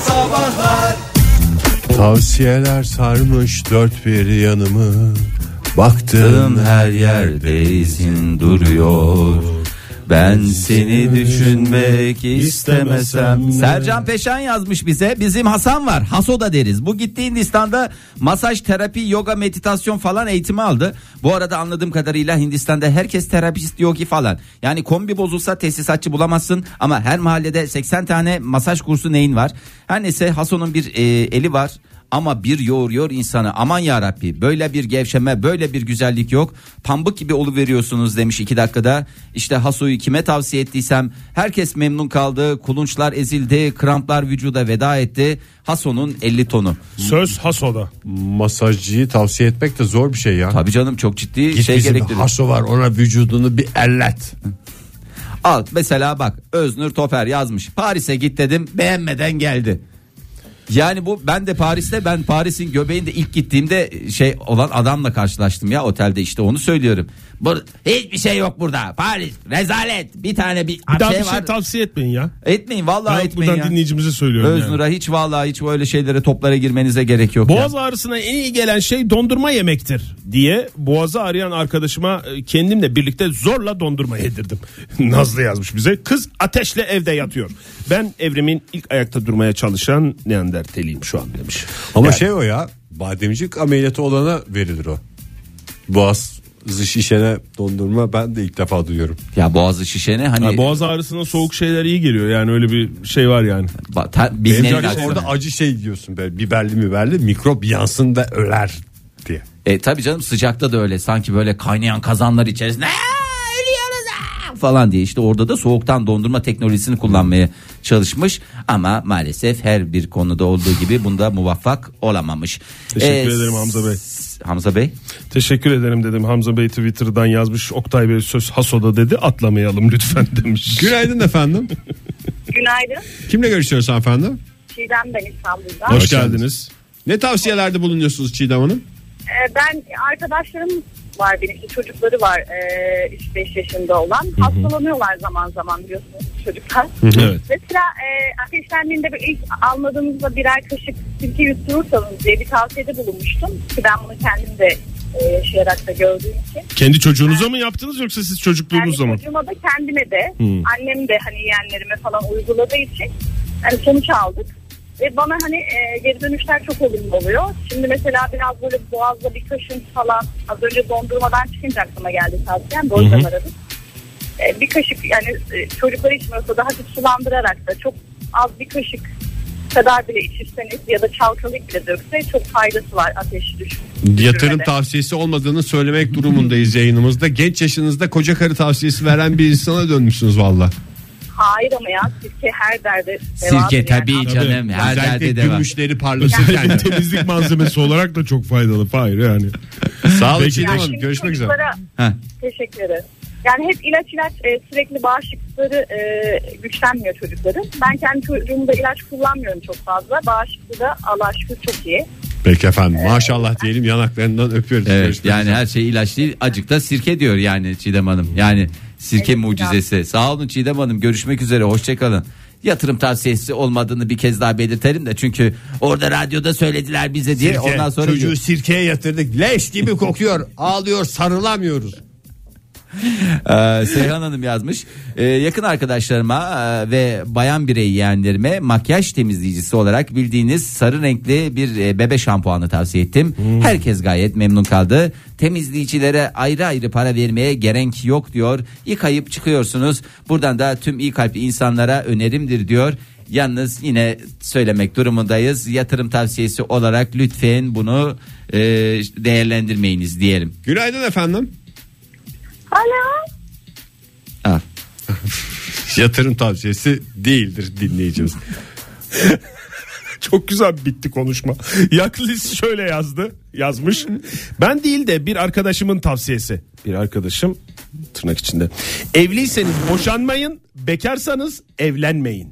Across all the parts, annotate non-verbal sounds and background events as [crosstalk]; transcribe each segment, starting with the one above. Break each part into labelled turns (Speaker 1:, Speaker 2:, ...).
Speaker 1: Sabahlar
Speaker 2: Tavsiyeler sarmış dört bir yanımı Baktığım
Speaker 3: Tığım her yerde izin duruyor. Ben seni düşünmek istemesem. Sercan Peşen yazmış bize. Bizim Hasan var. Haso da deriz. Bu gitti Hindistan'da masaj, terapi, yoga, meditasyon falan eğitimi aldı. Bu arada anladığım kadarıyla Hindistan'da herkes terapist, yogi falan. Yani kombi bozulsa tesisatçı bulamazsın ama her mahallede 80 tane masaj kursu neyin var? Her neyse Haso'nun bir e, eli var ama bir yoğuruyor insanı. Aman ya Rabbi böyle bir gevşeme, böyle bir güzellik yok. Pambık gibi olu veriyorsunuz demiş iki dakikada. İşte Haso'yu kime tavsiye ettiysem herkes memnun kaldı. Kulunçlar ezildi, kramplar vücuda veda etti. Haso'nun 50 tonu.
Speaker 4: Söz Haso'da.
Speaker 2: masajcıyı tavsiye etmek de zor bir şey ya
Speaker 3: Tabii canım çok ciddi
Speaker 2: Git
Speaker 3: şey
Speaker 2: bizim
Speaker 3: gerektirir.
Speaker 2: haso var ona vücudunu bir ellet
Speaker 3: Al mesela bak Öznur Toper yazmış. Paris'e git dedim beğenmeden geldi. Yani bu ben de Paris'te ben Paris'in göbeğinde ilk gittiğimde şey olan adamla karşılaştım ya otelde işte onu söylüyorum. Bur hiçbir şey yok burada. Paris rezalet. Bir tane bir,
Speaker 4: Bir daha
Speaker 3: şey
Speaker 4: bir şey
Speaker 3: var.
Speaker 4: tavsiye etmeyin ya.
Speaker 3: etmeyin vallahi
Speaker 4: Ben
Speaker 3: etmeyin
Speaker 4: buradan
Speaker 3: ya.
Speaker 4: dinleyicimize söylüyorum. yani.
Speaker 3: Öznur'a hiç vallahi hiç böyle şeylere toplara girmenize gerek yok. ya.
Speaker 4: Boğaz ağrısına en iyi gelen şey dondurma yemektir diye boğazı ağrıyan arkadaşıma e, kendimle birlikte zorla dondurma yedirdim. [laughs] Nazlı yazmış bize. Kız ateşle evde yatıyor. Ben evrimin ilk ayakta durmaya çalışan neandertaliyim şu an demiş.
Speaker 2: Ama
Speaker 4: Yani
Speaker 2: şey o ya bademcik ameliyatı olana verilir o Boğaz şişene dondurma ben de ilk defa duyuyorum.
Speaker 3: Ya boğazı şişene hani
Speaker 4: ha, boğaz ağrısına soğuk şeyler iyi geliyor yani öyle bir şey var yani.
Speaker 3: ba- ta-
Speaker 2: Benim
Speaker 3: bilmenin
Speaker 2: canım
Speaker 3: aksine.
Speaker 2: orada acı şey diyorsun böyle biberli biberli mikrop yansın da öler diye.
Speaker 3: E tabii canım sıcakta da öyle sanki böyle kaynayan kazanlar içerisinde "Aa, ölüyoruz aa!" falan diye işte orada da soğuktan dondurma teknolojisini kullanmaya çalışmış ama maalesef her bir konuda olduğu gibi bunda muvaffak olamamış. E,
Speaker 4: Teşekkür ederim Hamza Bey.
Speaker 3: s- Hamza Bey
Speaker 4: Teşekkür ederim dedim Hamza Bey Twitter'dan yazmış Oktay Bey söz hasoda dedi atlamayalım lütfen [laughs] demiş.
Speaker 2: Günaydın efendim.
Speaker 5: Günaydın.
Speaker 2: Kimle görüşüyoruz efendim?
Speaker 5: Çiğdem ben İstanbul'dan.
Speaker 4: Hoş geldiniz.
Speaker 2: Ne tavsiyelerde bulunuyorsunuz Çiğdem Hanım?
Speaker 5: Ee, ben arkadaşlarım var benim işte çocukları var ee, 3-5 yaşında olan. Hastalanıyorlar zaman zaman biliyorsunuz çocuklar.
Speaker 4: Evet.
Speaker 5: Mesela ee, ateşlendiğinde böyle ilk anladığımızda birer kaşık sirke yutturursanız diye bir tavsiyede bulunmuştum. Ki ben bunu kendim de ee, yaşayarak da gördüğüm için.
Speaker 4: Kendi çocuğunuza mı yaptınız yoksa siz çocukluğunuz zaman?
Speaker 5: Yani çocuğuma da kendime de annem de hani yeğenlerime falan uyguladığı için hani sonuç aldık. Ve bana hani e, geri dönüşler çok olumlu oluyor. Şimdi mesela biraz böyle boğazda bir kaşıntı falan az önce dondurmadan çıkınca aklıma geldi tavsiyem. Bu yüzden aradım. E, bir kaşık yani e, çocuklar içmiyorsa da hafif sulandırarak da çok az bir kaşık kadar bile içirseniz ya da çalkalayıp bile dökse çok faydası var ateşi düş.
Speaker 2: Yatırım
Speaker 5: düşürmede.
Speaker 2: tavsiyesi olmadığını söylemek durumundayız yayınımızda. Genç yaşınızda koca karı tavsiyesi veren bir insana dönmüşsünüz valla.
Speaker 5: Hayır ama ya sirke her derde
Speaker 3: sirke
Speaker 5: devadır
Speaker 3: tabii
Speaker 5: Yani.
Speaker 3: canım her
Speaker 2: Özellikle
Speaker 3: derde de var.
Speaker 2: gümüşleri parlatırken.
Speaker 4: temizlik malzemesi olarak da çok faydalı. Hayır yani.
Speaker 2: Sağ olun
Speaker 4: Peki,
Speaker 2: Çiğdem
Speaker 5: Yani
Speaker 2: Hanım.
Speaker 5: şimdi
Speaker 2: Görüşmek üzere.
Speaker 5: çocuklara-
Speaker 3: Heh.
Speaker 5: Teşekkür ederim. Yani hep ilaç ilaç e, sürekli bağışıklıkları e, güçlenmiyor çocukların. Ben kendi çocuğumda ilaç kullanmıyorum çok fazla. Bağışıklığı da Allah'a şükür çok iyi.
Speaker 2: Peki efendim maşallah diyelim yanaklarından öpüyoruz.
Speaker 3: Evet,
Speaker 2: Görüşmek
Speaker 3: yani
Speaker 2: üzere.
Speaker 3: her şey ilaç değil acık da sirke diyor yani Çiğdem Hanım. Yani sirke
Speaker 5: Evet,
Speaker 3: mucizesi. Sağ olun Çiğdem Hanım görüşmek üzere hoşçakalın. Yatırım tavsiyesi olmadığını bir kez daha belirtelim de çünkü orada radyoda söylediler bize diye
Speaker 2: Sirke,
Speaker 3: ondan sonra
Speaker 2: çocuğu sirkeye yatırdık. Leş gibi kokuyor. ağlıyor, sarılamıyoruz.
Speaker 3: Ee, Seyhan Hanım yazmış. Ee, yakın arkadaşlarıma e, ve bayan birey yeğenlerime makyaj temizleyicisi olarak bildiğiniz sarı renkli bir e, bebe şampuanı tavsiye ettim. Herkes gayet memnun kaldı. Temizleyicilere ayrı ayrı para vermeye gerek yok diyor. Yıkayıp çıkıyorsunuz. Buradan da tüm iyi kalpli insanlara önerimdir diyor. Yalnız yine söylemek durumundayız. Yatırım tavsiyesi olarak lütfen bunu e, değerlendirmeyiniz diyelim.
Speaker 2: Günaydın efendim.
Speaker 5: Alo.
Speaker 3: Al.
Speaker 2: Yatırım tavsiyesi değildir dinleyeceğiz.
Speaker 4: [laughs] Çok güzel bitti konuşma. Yaklis şöyle yazdı. Yazmış. Ben değil de bir arkadaşımın tavsiyesi. Bir arkadaşım tırnak içinde. Evliyseniz boşanmayın, bekarsanız evlenmeyin.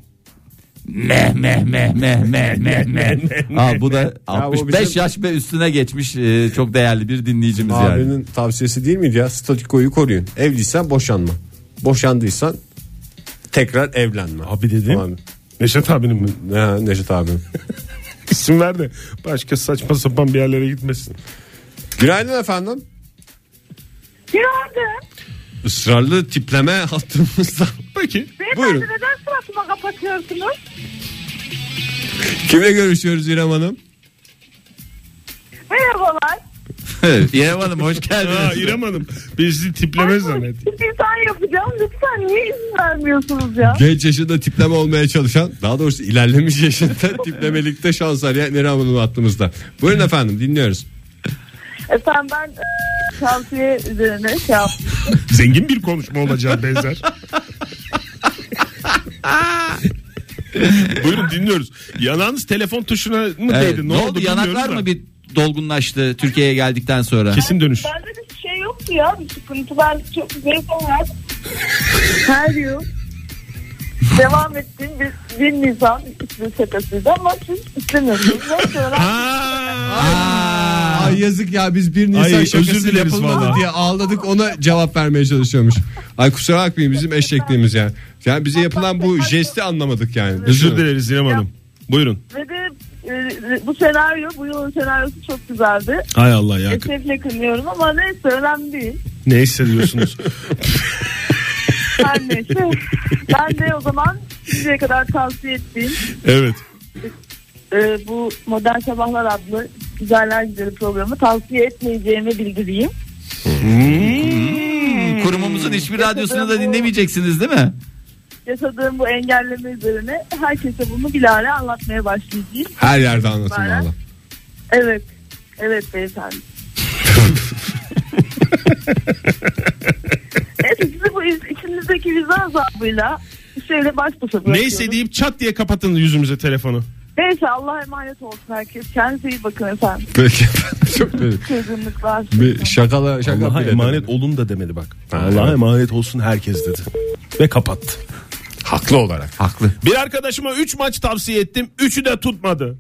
Speaker 3: Meh meh meh meh meh meh meh. Aa, bu da
Speaker 2: bu
Speaker 3: 65
Speaker 2: bizim-
Speaker 3: yaş ve üstüne geçmiş e, çok değerli bir dinleyicimiz [laughs] yani.
Speaker 2: Abinin tavsiyesi değil miydi ya? Statikoyu koruyun. Evliysen boşanma. Boşandıysan tekrar evlenme.
Speaker 4: Abi dedim.
Speaker 2: Falan.
Speaker 4: Neşet abinin mi?
Speaker 2: Ne, Necdet abi.
Speaker 4: İsim ver de başka saçma sapan bir yerlere gitmesin.
Speaker 2: Günaydın efendim.
Speaker 5: Günaydın.
Speaker 2: Israrlı tipleme hattımızda.
Speaker 4: [laughs] Peki.
Speaker 5: Beyefendi
Speaker 2: Buyurun.
Speaker 5: neden suratıma kapatıyorsunuz?
Speaker 2: Kimle görüşüyoruz İrem Hanım?
Speaker 5: Merhabalar.
Speaker 3: İrem Hanım hoş
Speaker 4: Aa,
Speaker 3: geldiniz.
Speaker 4: İrem Hanım bizi tiplemez zannet.
Speaker 5: İnsan yapacağım. Lütfen niye izin vermiyorsunuz ya?
Speaker 2: Genç yaşında tipleme olmaya çalışan daha doğrusu ilerlemiş yaşında tiplemelikte şans arayan İrem Hanım hattımızda. Buyurun efendim dinliyoruz.
Speaker 5: Efendim ben e, şantiye üzerine şey yaptım.
Speaker 4: Zengin bir konuşma olacağı benzer. Buyurun dinliyoruz. Yanağınız telefon tuşuna mı
Speaker 3: Evet,
Speaker 4: değdi?
Speaker 3: ne oldu yanaklar
Speaker 4: bilmiyorum da.
Speaker 3: mı bir dolgunlaştı Türkiye'ye geldikten sonra?
Speaker 4: Kesin dönüş.
Speaker 5: Bende de bir şey yoktu ya. Bir sıkıntı ben çok zevk olarak. Her yıl. Devam ettiğim bir, bir Nisan iklim şakasıydı ama siz istemiyorsunuz. Neyse öğren-
Speaker 3: Aa,
Speaker 2: Ay yazık ya biz bir Nisan
Speaker 4: Ay, özür
Speaker 2: şakası
Speaker 4: dileriz
Speaker 2: yapılmadı
Speaker 4: vallahi.
Speaker 2: diye ağladık ona cevap vermeye çalışıyormuş. Ay kusura bakmayın bizim eşekliğimiz yani. Yani bize yapılan bu jesti anlamadık yani.
Speaker 4: Özür dileriz İrem Hanım. Buyurun.
Speaker 5: Ve de e, bu senaryo, bu yılın senaryosu çok güzeldi.
Speaker 4: Hay Allah ya.
Speaker 5: Esefle kınıyorum ama neyse önemli değil.
Speaker 4: Ne hissediyorsunuz?
Speaker 5: Her neyse. [laughs] ben de o zaman şimdiye kadar tavsiye ettiğim
Speaker 4: [laughs] evet.
Speaker 5: e, bu Modern Sabahlar adlı güzeller güzeli programı tavsiye etmeyeceğimi bildireyim.
Speaker 2: Hmm.
Speaker 3: kurumumuzun hiçbir radyosunu da
Speaker 5: Bu-
Speaker 3: dinlemeyeceksiniz değil mi?
Speaker 5: Yaşadığım bu engelleme üzerine herkese bunu bilahare anlatmaya başlayacağım.
Speaker 2: Her yerde anlatın valla.
Speaker 5: Evet. Evet beyefendi. evet sizi bu iz- içinizdeki vicdan azabıyla şöyle baş başa bırakıyorum.
Speaker 4: Neyse deyip çat diye kapatın yüzümüze telefonu.
Speaker 5: Neyse Allah'a emanet olsun herkes. Kendinize iyi bakın efendim.
Speaker 2: Peki çok böyle
Speaker 5: Çözümlükler.
Speaker 2: bir şakala şaka
Speaker 4: Allah'a
Speaker 2: bile
Speaker 4: emanet
Speaker 2: demedim.
Speaker 4: olun da demedi bak.
Speaker 2: Ha,
Speaker 4: Allah'a
Speaker 2: evet.
Speaker 4: emanet olsun herkes dedi. Ve kapattı.
Speaker 2: Haklı olarak.
Speaker 3: Haklı.
Speaker 4: Bir arkadaşıma 3 maç tavsiye ettim. 3'ü de tutmadı.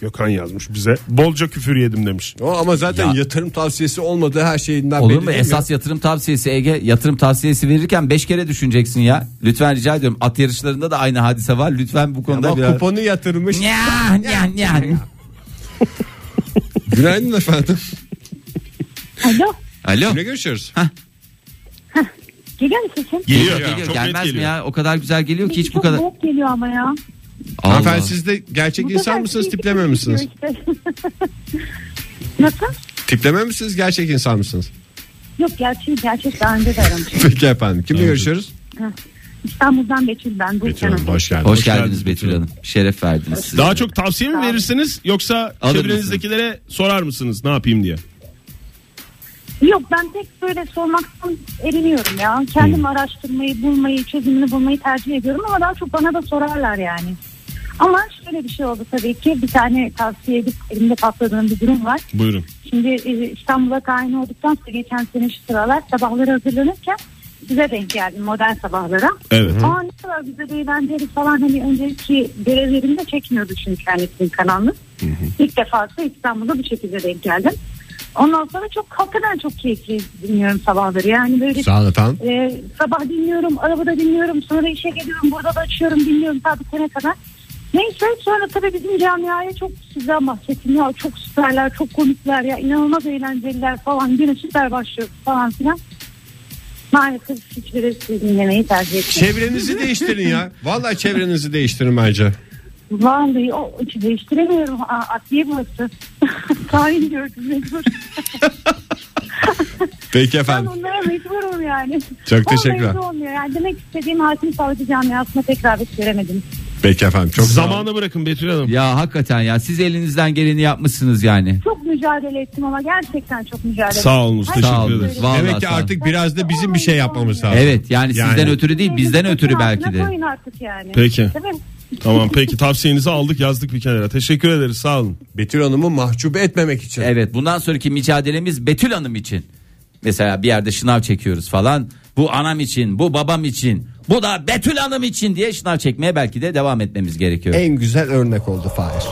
Speaker 4: Gökhan yazmış bize. Bolca küfür yedim demiş.
Speaker 2: O ama zaten
Speaker 3: Ya.
Speaker 2: yatırım tavsiyesi olmadığı her şeyinden
Speaker 3: Olur
Speaker 2: belli
Speaker 3: mu?
Speaker 2: değil
Speaker 3: Esas yatırım tavsiyesi Ege yatırım tavsiyesi verirken 5 kere düşüneceksin ya. Lütfen rica ediyorum. At yarışlarında da aynı hadise var. Lütfen bu
Speaker 2: ya.
Speaker 3: konuda
Speaker 2: Ama
Speaker 3: biraz...
Speaker 2: kuponu yatırmış.
Speaker 3: Nya, nya, nya.
Speaker 2: Günaydın efendim.
Speaker 5: Alo.
Speaker 3: Alo.
Speaker 2: Kimle görüşüyoruz?
Speaker 5: Geliyor musun sen?
Speaker 4: Geliyor.
Speaker 3: Geliyor,
Speaker 4: Çok
Speaker 3: gelmez
Speaker 4: net
Speaker 3: mi
Speaker 4: geliyor.
Speaker 3: ya? O kadar güzel geliyor ki hiç bu kadar.
Speaker 5: Çok geliyor ama ya.
Speaker 3: Allah.
Speaker 2: Hanımefendi siz de gerçek insan mısınız tipleme misiniz?
Speaker 5: [laughs] Nasıl?
Speaker 2: Tipleme misiniz gerçek insan mısınız?
Speaker 5: Yok gerçek gerçek daha önce de aramıştım.
Speaker 2: Peki efendim kimle görüşüyoruz?
Speaker 5: İstanbul'dan Betül ben. Betül
Speaker 2: hoş geldin.
Speaker 3: Hoş,
Speaker 4: geldiniz
Speaker 3: geldiniz Betül Hanım. Şeref verdiniz. siz
Speaker 4: Daha
Speaker 3: de.
Speaker 4: çok tavsiye mi verirsiniz yoksa
Speaker 3: Alır
Speaker 4: çevrenizdekilere sorar mısınız ne yapayım diye?
Speaker 5: Yok ben pek böyle sormaktan eriniyorum ya. Kendim araştırmayı, bulmayı, çözümünü bulmayı tercih ediyorum ama daha çok bana da sorarlar yani. Ama şöyle bir şey oldu tabii ki bir tane tavsiye edip elimde patladığım bir durum var.
Speaker 4: Buyurun.
Speaker 5: Şimdi e, İstanbul'a tayin olduktan sonra geçen sene şu sıralar sabahları hazırlanırken size denk geldim modern sabahlara.
Speaker 4: Evet.
Speaker 5: Aa ne kadar güzel eğlenceli falan hani önceki görevlerimde çekmiyordu çünkü kendisinin kanalını. İlk defası İstanbul'da bu şekilde denk geldim. Ondan sonra çok hakikaten çok keyifli dinliyorum sabahları. Yani böyle
Speaker 2: Sağ olun efendim.
Speaker 5: e, sabah dinliyorum, arabada dinliyorum, sonra işe geliyorum, burada da açıyorum, dinliyorum saat bitene kadar. Neyse sonra tabii bizim camiaya çok sizden bahsettim ya çok süperler, çok komikler ya inanılmaz eğlenceliler falan yine süper başlıyor falan filan. Maalesef hiçbiri sizi dinlemeyi tercih etmiyor.
Speaker 2: Çevrenizi değiştirin ya. Vallahi çevrenizi değiştirin bence.
Speaker 5: Vallahi o içi değiştiremiyorum. Aa, Adliye burası. [laughs] Tayin gördüm mecbur.
Speaker 2: Peki
Speaker 5: Ben
Speaker 2: efendim.
Speaker 5: bunlara mecburum yani.
Speaker 2: Çok
Speaker 5: Vallahi
Speaker 2: teşekkürler.
Speaker 5: de olmuyor yani. Demek istediğim hakim savcı camiasına tekrar hiç göremedim.
Speaker 2: Peki efendim. Çok sağ olun.
Speaker 4: Zamanı bırakın Betül Hanım.
Speaker 3: Ya hakikaten ya siz elinizden geleni yapmışsınız yani.
Speaker 5: Çok mücadele ettim ama gerçekten çok mücadele ettim.
Speaker 4: Sağ olunuz.
Speaker 5: Hayır,
Speaker 4: Teşekkür
Speaker 3: Sağ olun.
Speaker 4: ederiz.
Speaker 3: Vallahi
Speaker 2: Demek ki
Speaker 3: sağ olun.
Speaker 2: artık biraz da bizim bir şey yapmamız lazım.
Speaker 3: Evet yani,
Speaker 2: Yani.
Speaker 3: sizden ötürü değil bizden
Speaker 5: Meclis
Speaker 3: ötürü
Speaker 5: altına
Speaker 3: belki de.
Speaker 5: koyun artık yani.
Speaker 4: Peki.
Speaker 5: Değil mi?
Speaker 4: Tamam peki tavsiyenizi aldık yazdık bir kenara. Teşekkür ederiz sağ olun.
Speaker 2: Betül Hanım'ı mahcup etmemek için.
Speaker 3: Evet bundan sonraki mücadelemiz Betül Hanım için. Mesela bir yerde şınav çekiyoruz falan. Bu anam için, bu babam için, bu da Betül Hanım için diye şınav çekmeye belki de devam
Speaker 4: E,
Speaker 3: etmemiz gerekiyor.
Speaker 2: En güzel örnek oldu Fahir.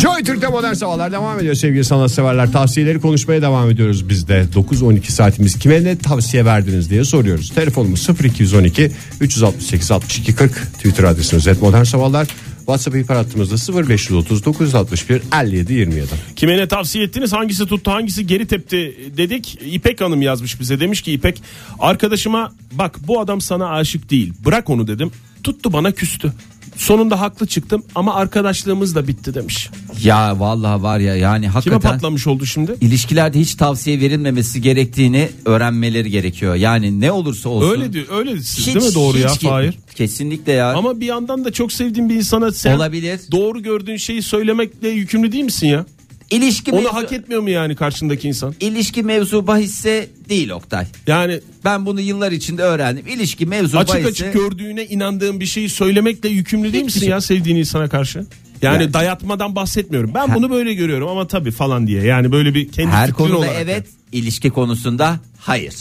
Speaker 2: Joy Türk'te modern sabahlar devam ediyor sevgili sanatseverler. Tavsiyeleri konuşmaya devam ediyoruz biz de. 9-12 saatimiz kime ne tavsiye verdiniz diye soruyoruz. Telefonumuz 0212 368 62 40 Twitter adresimiz et modern sabahlar. WhatsApp ihbar hattımızda 0530 961 57 27.
Speaker 4: Kime ne tavsiye ettiniz hangisi tuttu hangisi geri tepti dedik. İpek Hanım yazmış bize demiş ki İpek arkadaşıma bak bu adam sana aşık değil bırak onu dedim. Tuttu bana küstü. Sonunda haklı çıktım ama arkadaşlığımız da bitti demiş.
Speaker 3: Ya vallahi var ya yani
Speaker 4: Kime
Speaker 3: hakikaten
Speaker 4: patlamış oldu şimdi?
Speaker 3: ilişkilerde hiç tavsiye verilmemesi gerektiğini öğrenmeleri gerekiyor. Yani ne olursa olsun.
Speaker 4: Öyle diyor, öyle siz
Speaker 3: Hiç-
Speaker 4: değil mi doğru
Speaker 3: hiç
Speaker 4: ya?
Speaker 3: ki-
Speaker 4: Hayır.
Speaker 3: Kesinlikle ya.
Speaker 4: Ama bir yandan da çok sevdiğin bir insana sen
Speaker 3: Olabilir.
Speaker 4: doğru gördüğün şeyi söylemekle yükümlü değil misin ya?
Speaker 3: İlişki
Speaker 4: Onu
Speaker 3: mevzu-
Speaker 4: hak etmiyor mu yani karşındaki insan?
Speaker 3: ilişki mevzu bahisse değil Oktay.
Speaker 4: Yani
Speaker 3: Ben bunu yıllar içinde öğrendim. İlişki mevzu
Speaker 4: açık
Speaker 3: bahisse
Speaker 4: açık gördüğüne inandığın bir şeyi söylemekle yükümlü değil misin ya sevdiğin insana karşı? Yani,
Speaker 3: Yani.
Speaker 4: dayatmadan bahsetmiyorum. Ben
Speaker 3: Ha.
Speaker 4: bunu böyle görüyorum ama tabii falan diye. Yani böyle bir kendi
Speaker 3: her
Speaker 4: fikrin
Speaker 3: konuda
Speaker 4: olarak.
Speaker 3: evet, ilişki konusunda hayır.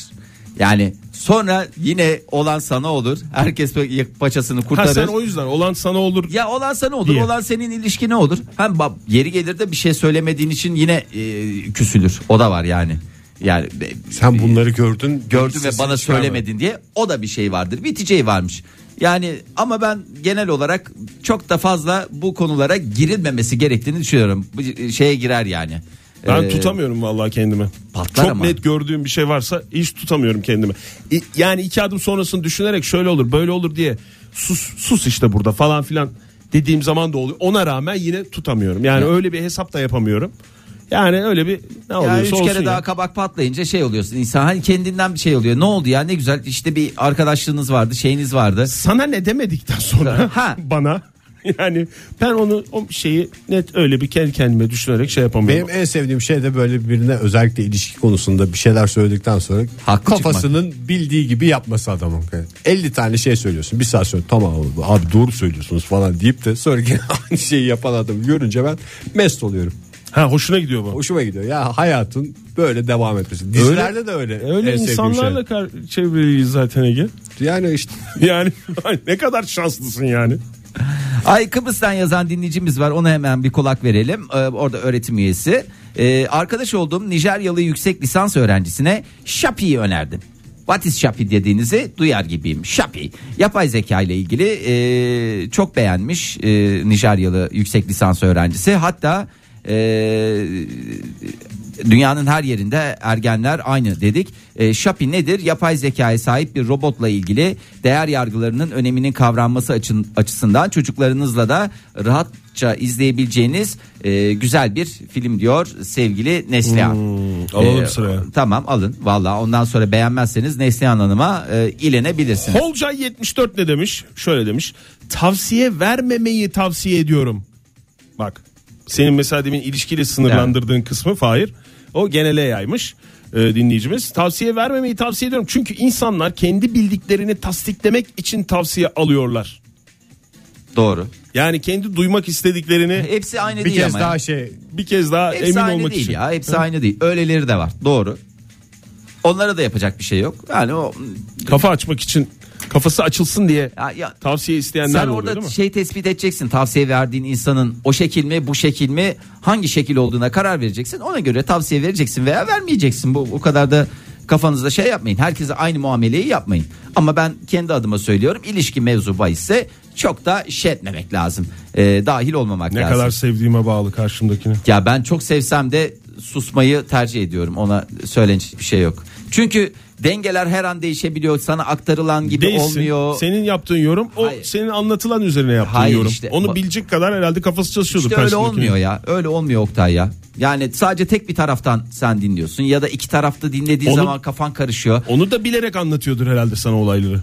Speaker 3: Yani sonra yine olan sana olur. Herkes böyle paçasını
Speaker 4: Ha,
Speaker 3: kurtarır.
Speaker 4: sen o yüzden olan sana olur.
Speaker 3: Ya olan sana olur,
Speaker 4: Diye.
Speaker 3: olan senin ilişki ne olur? Hem bab yeri gelir de bir şey söylemediğin için yine e, küsülür. O da var yani. Yani e,
Speaker 2: Sen bunları gördün.
Speaker 3: gördün ve
Speaker 2: sesini
Speaker 3: bana
Speaker 2: çıkarmadın.
Speaker 3: söylemedin diye o da bir şey vardır. Biteceği varmış. Yani ama ben genel olarak çok da fazla bu konulara girilmemesi gerektiğini düşünüyorum. Bu e, şeye girer yani.
Speaker 4: Ben
Speaker 3: Ee,
Speaker 4: tutamıyorum vallahi kendimi.
Speaker 3: Patlar
Speaker 4: Çok
Speaker 3: ama.
Speaker 4: net gördüğüm bir şey varsa hiç tutamıyorum kendimi. İ- Yani iki adım sonrasını düşünerek şöyle olur böyle olur diye sus sus işte burada falan filan dediğim zaman da oluyor. Ona rağmen yine tutamıyorum. Yani öyle bir hesap da yapamıyorum. Yani öyle bir ne
Speaker 3: Ya
Speaker 4: oluyorsa
Speaker 3: üç
Speaker 4: olsun
Speaker 3: kere
Speaker 4: ya.
Speaker 3: daha kabak patlayınca şey oluyorsun insan hani kendinden bir şey oluyor ne oldu ya ne güzel işte bir arkadaşlığınız vardı şeyiniz
Speaker 4: [laughs]
Speaker 3: vardı
Speaker 4: Sana ne demedikten sonra
Speaker 3: Ha.
Speaker 4: [laughs] bana yani ben onu o şeyi net öyle bir kendi kendime düşünerek şey yapamıyorum.
Speaker 2: Benim en sevdiğim şey de böyle birine özellikle ilişki konusunda bir şeyler söyledikten sonra
Speaker 3: Haklı
Speaker 2: kafasının bildiği gibi yapması adamın. Yani 50 tane şey söylüyorsun. Bir saat sonra tamam abi, abi doğru söylüyorsunuz falan deyip de sonra gene [laughs] aynı şeyi yapan adamı görünce ben mest oluyorum.
Speaker 4: Ha hoşuna gidiyor bu.
Speaker 2: Hoşuma gidiyor. Ya hayatın böyle devam etmesi. Dizilerde de öyle.
Speaker 4: öyle
Speaker 2: en sevdiğim
Speaker 4: insanlarla kar- çevreliyiz zaten Ege.
Speaker 2: şey. Yani işte
Speaker 4: Yani [laughs] ne kadar şanslısın yani.
Speaker 3: Ay Kıbrıs'tan yazan dinleyicimiz var ona hemen bir kulak verelim. Ee, orada öğretim üyesi. Ee, arkadaş olduğum Nijeryalı yüksek lisans öğrencisine Shopee önerdim. What is Shopee dediğinizi duyar gibiyim. Shopee yapay zeka ile ilgili e, çok beğenmiş e, Nijeryalı yüksek lisans öğrencisi. Hatta e, dünyanın her yerinde ergenler aynı dedik. E, Shopee nedir? Yapay zekaya sahip bir robotla ilgili değer yargılarının öneminin kavranması açın- açısından çocuklarınızla da rahatça izleyebileceğiniz e, güzel bir film diyor sevgili Neslihan.
Speaker 4: Hmm,
Speaker 3: E,
Speaker 4: alalım sıraya.
Speaker 3: Tamam alın valla ondan sonra beğenmezseniz Neslihan Hanım'a e, ilenebilirsiniz.
Speaker 4: Holcay 74 ne demiş? Şöyle demiş. Tavsiye vermemeyi tavsiye ediyorum. Bak senin mesela demin ilişkiyle sınırlandırdığın kısmı Fahir. O genele yaymış e, dinleyicimiz. Tavsiye vermemeyi tavsiye ediyorum. Çünkü insanlar kendi bildiklerini tasdiklemek için tavsiye alıyorlar.
Speaker 3: Doğru.
Speaker 4: Yani kendi duymak istediklerini
Speaker 3: Hepsi aynı
Speaker 2: bir
Speaker 3: değil
Speaker 2: kez
Speaker 3: ama.
Speaker 2: daha
Speaker 3: ya.
Speaker 2: şey
Speaker 4: bir kez daha
Speaker 3: Hepsi
Speaker 4: emin
Speaker 3: aynı
Speaker 4: olmak
Speaker 3: değil
Speaker 4: için.
Speaker 3: ya. Hepsi aynı değil. Öyleleri de var. Doğru. Onlara da yapacak bir şey yok. Yani o
Speaker 4: Kafa açmak için kafası açılsın diye
Speaker 3: ya, ya
Speaker 4: tavsiye isteyenler
Speaker 3: sen
Speaker 4: de oluyor,
Speaker 3: orada
Speaker 4: değil mi?
Speaker 3: şey tespit edeceksin. Tavsiye verdiğin insanın o şekil mi, bu şekil mi, hangi şekil olduğuna karar vereceksin. Ona göre tavsiye vereceksin veya vermeyeceksin. Bu o kadar da kafanızda şey yapmayın. Herkese aynı muameleyi yapmayın. Ama ben kendi adıma söylüyorum. ilişki mevzu bahisse çok da şey etmemek lazım. Ee, dahil olmamak
Speaker 4: Ne
Speaker 3: lazım.
Speaker 4: kadar sevdiğime bağlı karşımdakini.
Speaker 3: Ya ben çok sevsem de susmayı tercih ediyorum. Ona söylenecek bir şey yok. Çünkü dengeler her an değişebiliyor. Sana aktarılan gibi
Speaker 4: Değilsin.
Speaker 3: olmuyor.
Speaker 4: Senin yaptığın yorum o
Speaker 3: Hayır.
Speaker 4: senin anlatılan üzerine yaptığın
Speaker 3: Hayır
Speaker 4: yorum.
Speaker 3: işte.
Speaker 4: Onu
Speaker 3: Bak-
Speaker 4: bilecek kadar herhalde kafası çalışıyordu.
Speaker 3: İşte öyle olmuyor ya. Öyle olmuyor Oktay ya. Yani sadece tek bir taraftan sen dinliyorsun ya da iki tarafta dinlediğin
Speaker 4: Onun-
Speaker 3: zaman kafan karışıyor.
Speaker 4: Onu da bilerek anlatıyordur herhalde sana olayları.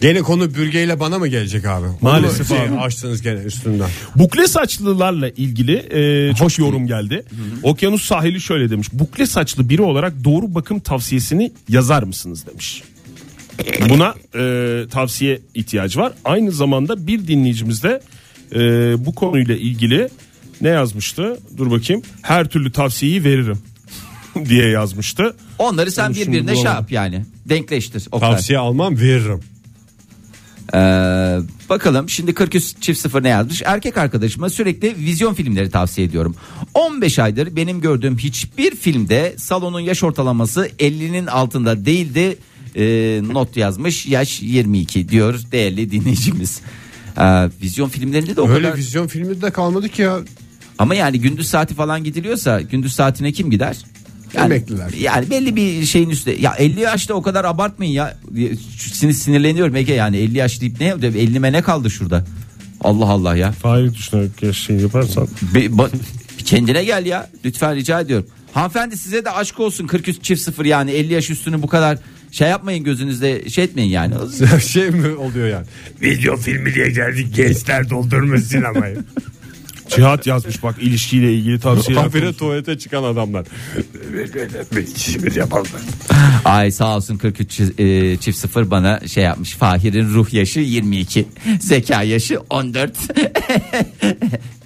Speaker 2: gene konu bürgeyle bana mı gelecek abi?
Speaker 4: Maalesef
Speaker 2: Onu şey
Speaker 4: abi.
Speaker 2: açtınız gene üstünden.
Speaker 4: Bukle saçlılarla ilgili e, çok yorum geldi. Okyanus sahili şöyle demiş. Bukle saçlı biri olarak doğru bakım tavsiyesini yazar mısınız demiş. Buna e, tavsiye ihtiyacı var. Aynı zamanda bir dinleyicimiz de e, bu konuyla ilgili ne yazmıştı? Dur bakayım. Her türlü tavsiyeyi veririm [laughs] diye yazmıştı.
Speaker 3: Onları sen
Speaker 4: şimdi
Speaker 3: birbirine şey
Speaker 4: bulamadım.
Speaker 3: yap yani. Denkleştir Oktay.
Speaker 2: Tavsiye almam veririm.
Speaker 3: Ee, Bakalım şimdi 43 çift sıfır ne yazmış? Erkek arkadaşıma sürekli vizyon filmleri tavsiye ediyorum. 15 aydır benim gördüğüm hiçbir filmde salonun yaş ortalaması 50'nin altında değildi. Ee, not yazmış yaş 22 diyor değerli dinleyicimiz. Ee, vizyon filmlerinde de o
Speaker 2: Öyle
Speaker 3: kadar.
Speaker 2: vizyon filmi de kalmadı ki ya.
Speaker 3: Ama yani gündüz saati falan gidiliyorsa gündüz saatine kim gider?
Speaker 2: Emekliler.
Speaker 3: Yani belli bir şeyin üstü. Ya 50 yaşta o kadar abartmayın ya. Sinir sinirleniyorum Ege yani 50 yaş deyip ne 50'me ne kaldı şurada? Allah Allah ya.
Speaker 4: Fahir düşünerek ya şey yaparsan.
Speaker 3: Bir, ba- bir kendine gel ya. Lütfen rica ediyorum. Hanımefendi size de aşk olsun 43 çift sıfır yani 50 yaş üstünü bu kadar şey yapmayın gözünüzde şey etmeyin yani.
Speaker 2: [laughs] şey mi oluyor yani?
Speaker 1: Video filmi diye geldik gençler doldurmuş sinemayı.
Speaker 4: Cihat yazmış bak ilişkiyle ilgili tavsiyeler.
Speaker 2: Kafire tuvalete çıkan adamlar.
Speaker 1: Hiçbir yapamaz.
Speaker 3: Ay sağ olsun 43 çiz- e, çift sıfır bana şey yapmış. Fahir'in ruh yaşı 22. Zeka yaşı 14. [laughs]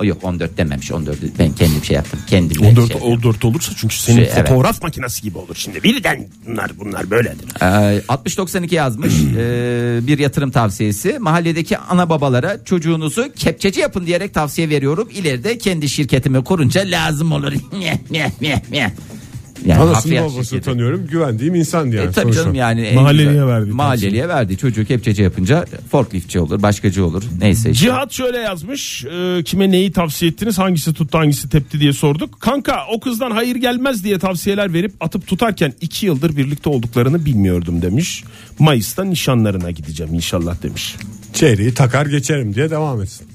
Speaker 3: O Yok 14 dememiş 14. Ben kendim şey yaptım. Kendim
Speaker 4: 14,
Speaker 3: şey.
Speaker 4: 14 olursa çünkü senin
Speaker 3: Şey, evet.
Speaker 4: fotoğraf makinesi gibi olur şimdi. Birden bunlar bunlar böyledir.
Speaker 3: Ee, 60-92 yazmış Ee, bir yatırım tavsiyesi. Mahalledeki ana babalara çocuğunuzu kepçeci yapın diyerek tavsiye veriyorum. İleride kendi şirketimi kurunca lazım olur. [laughs] Ne, ne, ne, ne. yani
Speaker 2: Anasını
Speaker 3: hafriyat
Speaker 2: babasını
Speaker 3: şirketi.
Speaker 2: tanıyorum. Güvendiğim insan diye.
Speaker 3: E, tabii canım yani en
Speaker 4: Mahalleliye
Speaker 3: güzel-
Speaker 4: verdiği
Speaker 3: Mahalleliye verdi. Çocuğu kepçeci yapınca forkliftçi olur, başkacı olur. Neyse işte.
Speaker 4: Cihat şöyle yazmış. e, kime neyi tavsiye ettiniz? Hangisi tuttu hangisi tepti diye sorduk. Kanka o kızdan hayır gelmez diye tavsiyeler verip atıp tutarken 2 yıldır birlikte olduklarını bilmiyordum demiş. Mayıs'ta nişanlarına gideceğim inşallah demiş.
Speaker 2: Çeyreği takar geçerim diye devam etsin.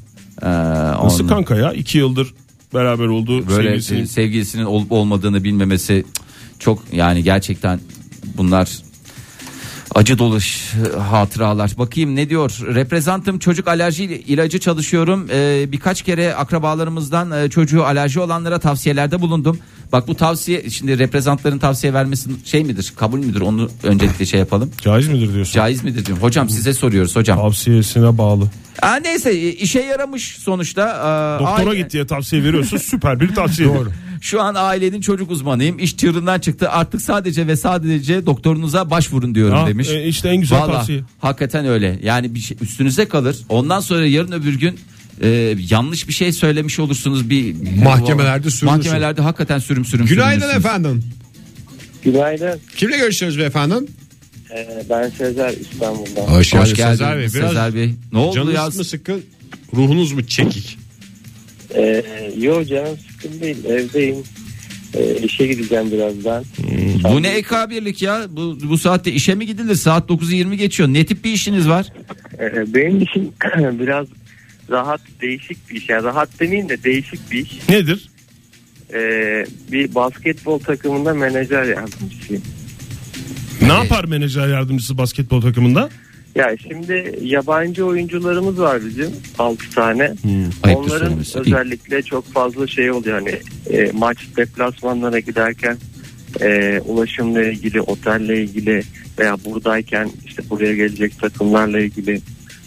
Speaker 3: Ee,
Speaker 4: Nasıl
Speaker 3: onun
Speaker 4: kanka ya? 2 yıldır beraber oldu.
Speaker 3: böyle e,
Speaker 4: sevgilisinin-
Speaker 3: sevgilisinin... olup olmadığını bilmemesi çok yani gerçekten bunlar acı dolu ş- hatıralar. Bakayım ne diyor? Reprezantum çocuk alerji il- ilacı çalışıyorum. Ee, birkaç kere akrabalarımızdan e, çocuğu alerji olanlara tavsiyelerde bulundum. Bak bu tavsiye şimdi reprezentantların tavsiye vermesi şey midir? Kabul müdür? Onu öncelikle şey yapalım.
Speaker 4: Caiz midir diyorsun?
Speaker 3: Caiz midir diyorum. Hocam size soruyoruz hocam.
Speaker 4: Tavsiyesine bağlı.
Speaker 3: Aa, neyse işe yaramış sonuçta. Ee,
Speaker 4: Doktora
Speaker 3: aile-
Speaker 4: git diye tavsiye veriyorsun. Süper bir tavsiye. [laughs] Doğru.
Speaker 3: Şu an ailenin çocuk uzmanıyım. İş çığırından çıktı. Artık sadece ve sadece doktorunuza başvurun diyorum
Speaker 4: Ah,
Speaker 3: demiş.
Speaker 4: e, işte en güzel
Speaker 3: Vallahi,
Speaker 4: tavsiye.
Speaker 3: Hakikaten öyle. Yani bir şey üstünüze kalır. Ondan sonra yarın öbür gün e, yanlış bir şey söylemiş olursunuz bir
Speaker 2: Mahkemelerde sürünürsün.
Speaker 3: Mahkemelerde hakikaten sürüm sürüm.
Speaker 2: Günaydın
Speaker 3: sürünürsünüz.
Speaker 2: efendim.
Speaker 6: Günaydın.
Speaker 2: Kimle görüşüyoruz beyefendim?
Speaker 6: Ee, ben Sezer İstanbul'dan.
Speaker 3: Hoş geldin Sezer Bey.
Speaker 2: Biraz
Speaker 3: Ne oldu
Speaker 2: canınız
Speaker 3: ya?
Speaker 2: mı sıkkın? Ruhunuz mu çekik?
Speaker 6: Ee, yo canım sıkın değil evdeyim. Ee, işe gideceğim birazdan.
Speaker 3: Hmm, Bu ne EK birlik ya? Bu, bu saatte işe mi gidilir? Saat 9'u 20 geçiyor. Ne tip bir işiniz var?
Speaker 6: Ee, benim işim [clears throat] biraz rahat değişik bir iş. Yani rahat demeyeyim de değişik bir iş.
Speaker 4: Nedir?
Speaker 6: Ee, bir basketbol takımında menajer yardımcısıyım.
Speaker 4: Ne yapar menajer yardımcısı basketbol takımında?
Speaker 6: Ya şimdi yabancı oyuncularımız var bizim 6 tane.
Speaker 3: Hmm. Ayıptır
Speaker 6: Onların
Speaker 3: söylemesi. İyi.
Speaker 6: özellikle çok fazla şey oluyor hani e, maç deplasmanlara giderken e, ulaşımla ilgili, otelle ilgili veya buradayken işte buraya gelecek takımlarla ilgili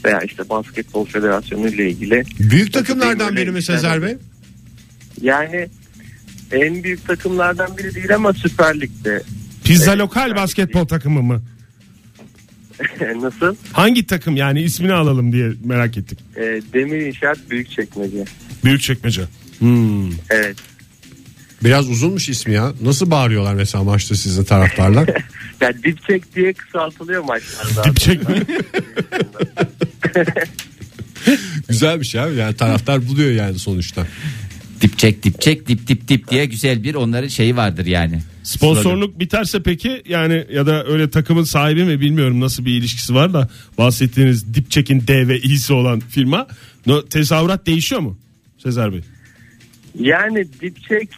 Speaker 6: veya işte basketbol federasyonu ile ilgili.
Speaker 2: Büyük takımlardan
Speaker 6: Öyle
Speaker 2: biri mi
Speaker 6: işler
Speaker 2: Sezer
Speaker 6: var.
Speaker 2: Bey?
Speaker 6: Yani en büyük takımlardan biri değil ama Süper Lig'de [laughs]
Speaker 4: Pizza
Speaker 6: Evet.
Speaker 4: lokal basketbol takımı mı?
Speaker 6: nasıl?
Speaker 4: Hangi takım yani ismini alalım diye merak ettik.
Speaker 6: E, demir inşaat büyük çekmece.
Speaker 4: Büyükçekmece.
Speaker 6: Evet.
Speaker 2: Biraz uzunmuş ismi ya. Nasıl bağırıyorlar mesela maçta sizin [laughs] taraftarlar?
Speaker 6: Yani dipçek diye
Speaker 4: [laughs]
Speaker 6: kısaltılıyor maçlarda.
Speaker 2: [laughs]
Speaker 4: Dipçek mi?
Speaker 2: Güzelmiş ya. Yani taraftar buluyor yani sonuçta.
Speaker 3: Dipçek dipçek dip dip dip diye güzel bir onların şeyi vardır yani.
Speaker 4: Sponsorluk biterse peki yani ya da öyle takımın sahibi mi bilmiyorum nasıl bir ilişkisi var da bahsettiğiniz Dipçek'in D ve İ'si olan firma no, tezahürat değişiyor mu? Sezer Bey.
Speaker 6: Yani dipçek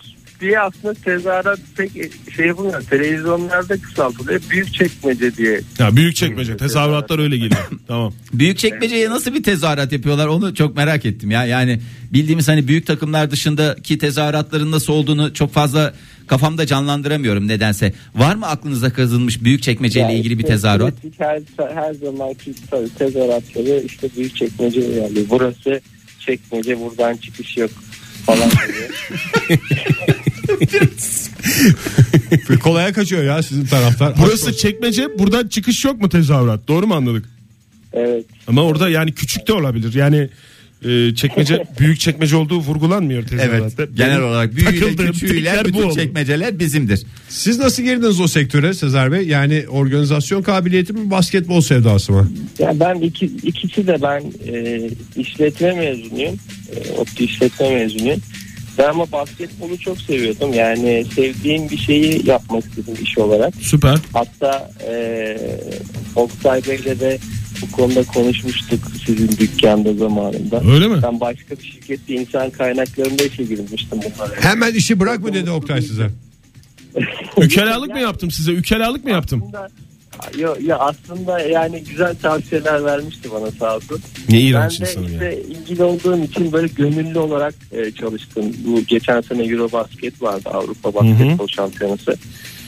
Speaker 6: diye aslında tezahürat pek şey yapılmıyor. Televizyonlarda kısaltılıyor. Büyük çekmece diye.
Speaker 4: Ya büyük çekmece tezahüratlar öyle geliyor. tamam.
Speaker 2: [laughs]
Speaker 3: Büyük çekmeceye nasıl bir tezahürat yapıyorlar onu çok merak ettim ya. Yani bildiğimiz hani büyük takımlar dışındaki tezahüratların nasıl olduğunu çok fazla kafamda canlandıramıyorum nedense. Var mı aklınıza kazınmış büyük çekmeceyle
Speaker 6: Yani
Speaker 3: ilgili bir
Speaker 6: işte
Speaker 3: tezahürat?
Speaker 6: klasik Her, her zamanki tabii tezahüratları işte büyük çekmece yani. Burası çekmece buradan çıkış yok falan diye.
Speaker 3: [laughs]
Speaker 2: Ve Kolaya kaçıyor ya sizin taraftar.
Speaker 4: Burası çekmece buradan çıkış yok mu tezahürat? Doğru mu anladık?
Speaker 6: Evet.
Speaker 4: Ama orada yani küçük de olabilir. Yani e, çekmece büyük çekmece olduğu vurgulanmıyor tezahüratta.
Speaker 3: Evet.
Speaker 4: Benim
Speaker 3: Genel olarak büyüğüyle
Speaker 4: takıldığım
Speaker 3: küçüğüyle
Speaker 4: tekler bu
Speaker 3: bütün
Speaker 4: olur.
Speaker 3: çekmeceler bizimdir.
Speaker 2: Siz nasıl girdiniz o sektöre Sezer Bey? Yani organizasyon kabiliyeti mi basketbol sevdası mı?
Speaker 6: Ya ben iki, ikisi de ben e, işletme mezunuyum. E, ODTÜ işletme mezunuyum. Ben ama basketbolu çok seviyordum. Yani sevdiğim bir şeyi yapmak istedim iş olarak.
Speaker 4: Süper.
Speaker 6: Hatta e, Oktay Bey'le de bu konuda konuşmuştuk sizin dükkanda zamanında.
Speaker 4: Öyle mi?
Speaker 6: Ben başka bir şirkette insan kaynaklarında işe girmiştim. bunlara.
Speaker 2: Hemen işi bırak mı dedi Oktay size.
Speaker 4: Ükelalık mı yaptım size? Ükelalık mı yaptım?
Speaker 6: Aslında- Ya, ya aslında yani güzel tavsiyeler vermişti bana sağ olsun.
Speaker 4: Ne
Speaker 6: Ben
Speaker 4: iğrenç
Speaker 6: de
Speaker 4: insan ya.
Speaker 6: işte ilgili olduğum için böyle gönüllü olarak e, çalıştım. Bu geçen sene Eurobasket vardı Avrupa Basketbol Şampiyonası.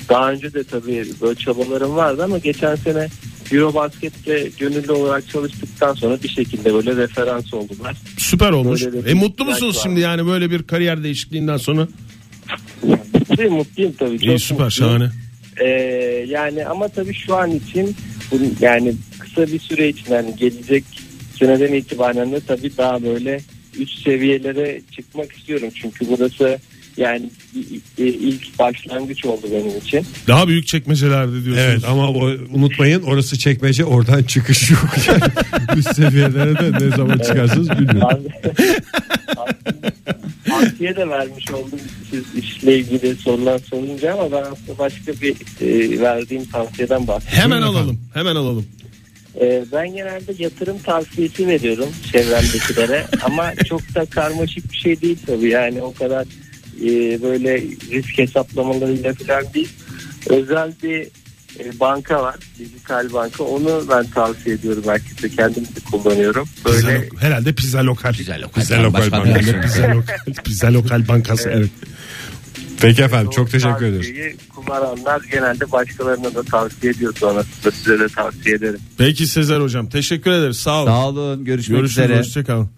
Speaker 6: Daha önce de tabii böyle çabalarım vardı ama geçen sene Eurobasket'te gönüllü olarak çalıştıktan sonra bir şekilde böyle referans oldular.
Speaker 4: Süper olmuş.
Speaker 6: Böyle de
Speaker 4: E
Speaker 6: bir
Speaker 4: mutlu
Speaker 6: ihtiyaç
Speaker 4: musunuz
Speaker 6: var.
Speaker 4: şimdi yani böyle bir kariyer değişikliğinden sonra?
Speaker 6: Şey, mutluyum tabii.
Speaker 4: İyi
Speaker 6: çok
Speaker 4: süper
Speaker 6: mutluyum.
Speaker 4: şahane.
Speaker 6: E, yani ama tabii şu an için bunun- yani kısa bir süre için yani gelecek seneden itibaren de tabii daha böyle üst seviyelere çıkmak istiyorum. Çünkü burası yani i- i- ilk başlangıç oldu benim için.
Speaker 4: Daha büyük çekmecelerde diyorsunuz.
Speaker 2: Evet ama o, unutmayın orası çekmece oradan çıkış yok. [laughs] Yani Üst seviyelere de ne zaman çıkarsınız bilmiyorum.
Speaker 6: Asiye de vermiş oldum siz işle ilgili sorular sorunca ama ben aslında başka bir e, verdiğim tavsiyeden bahsedeyim.
Speaker 4: Hemen alalım. Hemen alalım.
Speaker 6: Ee, ben genelde yatırım tavsiyesi veriyorum çevremdekilere ama çok da karmaşık bir şey değil tabii yani o kadar e, böyle risk hesaplamalarıyla falan değil. Özel bir e, banka var dijital banka onu ben tavsiye ediyorum herkese kendim de kullanıyorum.
Speaker 4: Pizza
Speaker 6: Böyle
Speaker 4: Lo- herhalde pizza lokal.
Speaker 3: Pizza Lokal.
Speaker 4: Pizza
Speaker 3: Ben
Speaker 4: lokal
Speaker 3: başka
Speaker 4: bankası.
Speaker 3: bilmiyorum.
Speaker 4: Pizza lokal. Pizza lokal bankası. Evet.
Speaker 2: Peki efendim çok teşekkür
Speaker 6: tavsiyeyi
Speaker 2: ederiz.
Speaker 6: Kullaranlar genelde başkalarına da tavsiye ediyor sonrasında size de tavsiye ederim.
Speaker 4: Peki Sezer hocam teşekkür ederiz. Sağ olun.
Speaker 3: Sağ olun. Görüşmek üzere.
Speaker 4: Görüşürüz. Hoşçakalın.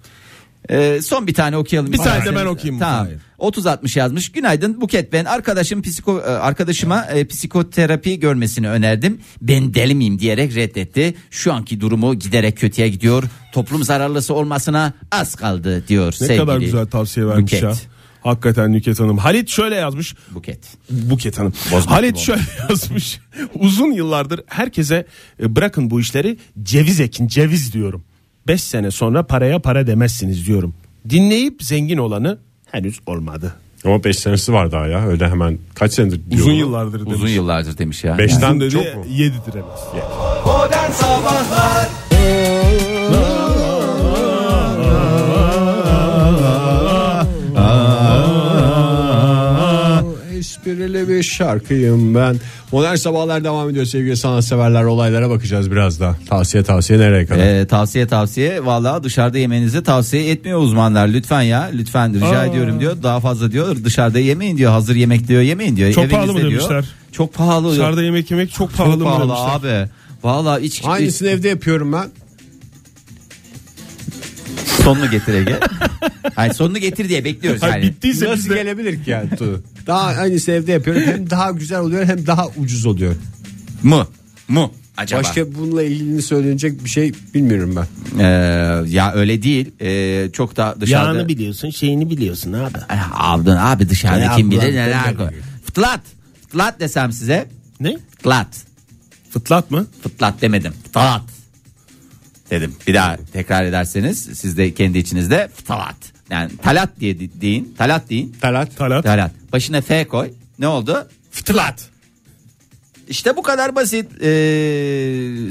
Speaker 3: Ee, son bir tane okuyalım.
Speaker 4: Bir tane de
Speaker 3: isterseniz.
Speaker 4: ben okuyayım.
Speaker 3: Tamam.
Speaker 4: Hayır.
Speaker 3: 30-60 yazmış. Günaydın Buket ben arkadaşım psiko, e, arkadaşıma e, psikoterapi görmesini önerdim. Ben deli miyim diyerek reddetti. Şu anki durumu giderek kötüye gidiyor. Toplum zararlısı olmasına az kaldı diyor
Speaker 4: Ne
Speaker 3: sevgili
Speaker 4: kadar güzel tavsiye vermiş
Speaker 3: Buket.
Speaker 4: ya. Hakikaten Nüket Hanım. Halit şöyle yazmış.
Speaker 3: Buket.
Speaker 4: Buket Hanım.
Speaker 3: Bozmak
Speaker 4: Halit
Speaker 3: gibi
Speaker 4: şöyle [laughs] yazmış. Uzun yıllardır herkese e, bırakın bu işleri ceviz ekin ceviz diyorum. 5 sene sonra paraya para demezsiniz diyorum. Dinleyip zengin olanı henüz olmadı.
Speaker 2: Ama 5 senesi var daha ya öyle hemen kaç senedir diyor.
Speaker 4: Uzun yıllardır demiş.
Speaker 3: Uzun yıllardır demiş ya.
Speaker 2: 5'ten
Speaker 4: dedi,
Speaker 2: çok mu?
Speaker 4: yedidir en az.
Speaker 2: Esprili bir şarkıyım ben. Modern Sabahlar devam ediyor sevgili sanatseverler. Olaylara bakacağız biraz da. Tavsiye tavsiye nereye kadar?
Speaker 3: Ee, tavsiye tavsiye vallahi dışarıda yemenizi tavsiye etmiyor uzmanlar lütfen ya lütfen rica ediyorum diyor daha fazla diyor dışarıda yemeyin diyor hazır yemek diyor yemeyin diyor
Speaker 4: Çok pahalı
Speaker 3: Evinizde
Speaker 4: mı
Speaker 3: diyor.
Speaker 4: demişler?
Speaker 3: çok pahalı diyor.
Speaker 4: Dışarıda yemek yemek çok pahalı,
Speaker 3: çok
Speaker 4: mı
Speaker 3: pahalı
Speaker 4: demişler.
Speaker 3: abi vallahi iç, iç
Speaker 2: Aynısını evde yapıyorum ben.
Speaker 3: sonunu getir
Speaker 2: [laughs]
Speaker 3: Ege Hayır, sonunu getir diye bekliyoruz
Speaker 4: Hayır,
Speaker 3: yani
Speaker 4: bittiyse biz
Speaker 2: Nasıl
Speaker 4: de-
Speaker 2: gelebilir ki yani? Tuğ? daha aynısını evde yapıyorum. Hem daha güzel oluyor hem daha ucuz oluyor.
Speaker 3: mu mu acaba
Speaker 2: Başka bununla ilgili söylenecek bir şey bilmiyorum ben.
Speaker 3: Ee, ya öyle değil Ee, çok da dışarıda
Speaker 4: Yağını biliyorsun şeyini biliyorsun abi.
Speaker 3: Ay, aldın abi dışarıda
Speaker 2: Ya
Speaker 3: kim
Speaker 2: ablan,
Speaker 3: bilir neler
Speaker 2: ben
Speaker 3: koy fıtlat fıtlat desem size
Speaker 4: Ne?
Speaker 3: fıtlat
Speaker 4: Fıtlat mı?
Speaker 3: fıtlat demedim. Fıtlat. Dedim. Bir daha tekrar ederseniz siz de kendi içinizde fıtlat. Yani talat diye de- deyin. Talat deyin.
Speaker 4: Talat. Talat.
Speaker 3: Talat. Başına F koy. Ne oldu?
Speaker 4: Fıtlat.
Speaker 3: İşte bu kadar basit. Ee,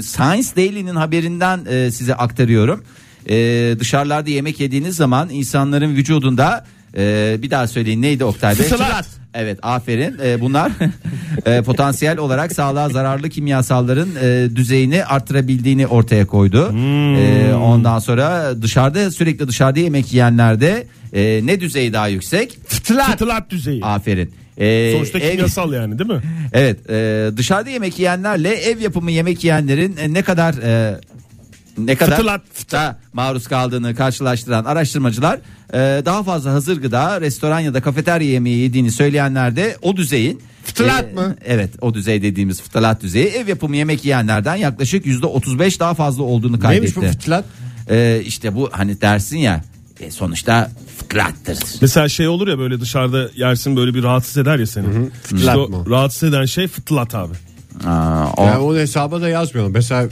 Speaker 3: Science Daily'nin haberinden e, size aktarıyorum. Ee, dışarılarda yemek yediğiniz zaman insanların vücudunda e, bir daha söyleyin neydi Oktay Bey?
Speaker 4: Fıtrat.
Speaker 3: Evet aferin. Ee, bunlar [laughs] e, potansiyel olarak sağlığa zararlı kimyasalların e, düzeyini arttırabildiğini ortaya koydu.
Speaker 4: Hmm.
Speaker 3: Ee, ondan sonra dışarıda sürekli dışarıda yemek yiyenlerde e, ne düzeyi daha yüksek?
Speaker 4: Fıtlat. Fıtlat düzeyi.
Speaker 3: Aferin. Ee,
Speaker 4: Sonuçta
Speaker 3: ev-
Speaker 4: kimyasal yani değil mi?
Speaker 3: Evet e, dışarıda yemek yiyenlerle ev yapımı yemek yiyenlerin e, ne kadar e, ne kadar
Speaker 4: Fıtılat.
Speaker 3: da maruz kaldığını karşılaştıran araştırmacılar e, daha fazla hazır gıda restoran ya da kafeterya yemeği yediğini söyleyenler de o düzeyin
Speaker 2: Fıtılat
Speaker 3: e,
Speaker 2: mı?
Speaker 3: Evet o düzey dediğimiz fıtılat düzeyi ev yapımı yemek yiyenlerden yaklaşık %35 daha fazla olduğunu kaydetti.
Speaker 2: Neymiş bu fıtılat?
Speaker 3: E, işte bu hani dersin ya e, sonuçta fıtılattır.
Speaker 4: Mesela şey olur ya böyle dışarıda yersin böyle bir rahatsız eder ya seni. İşte
Speaker 2: Fıtlat
Speaker 4: o
Speaker 2: mı?
Speaker 4: rahatsız eden şey fıtlat abi.
Speaker 3: Aa, o-
Speaker 2: Yani onu hesaba da yazmıyorum. Mesela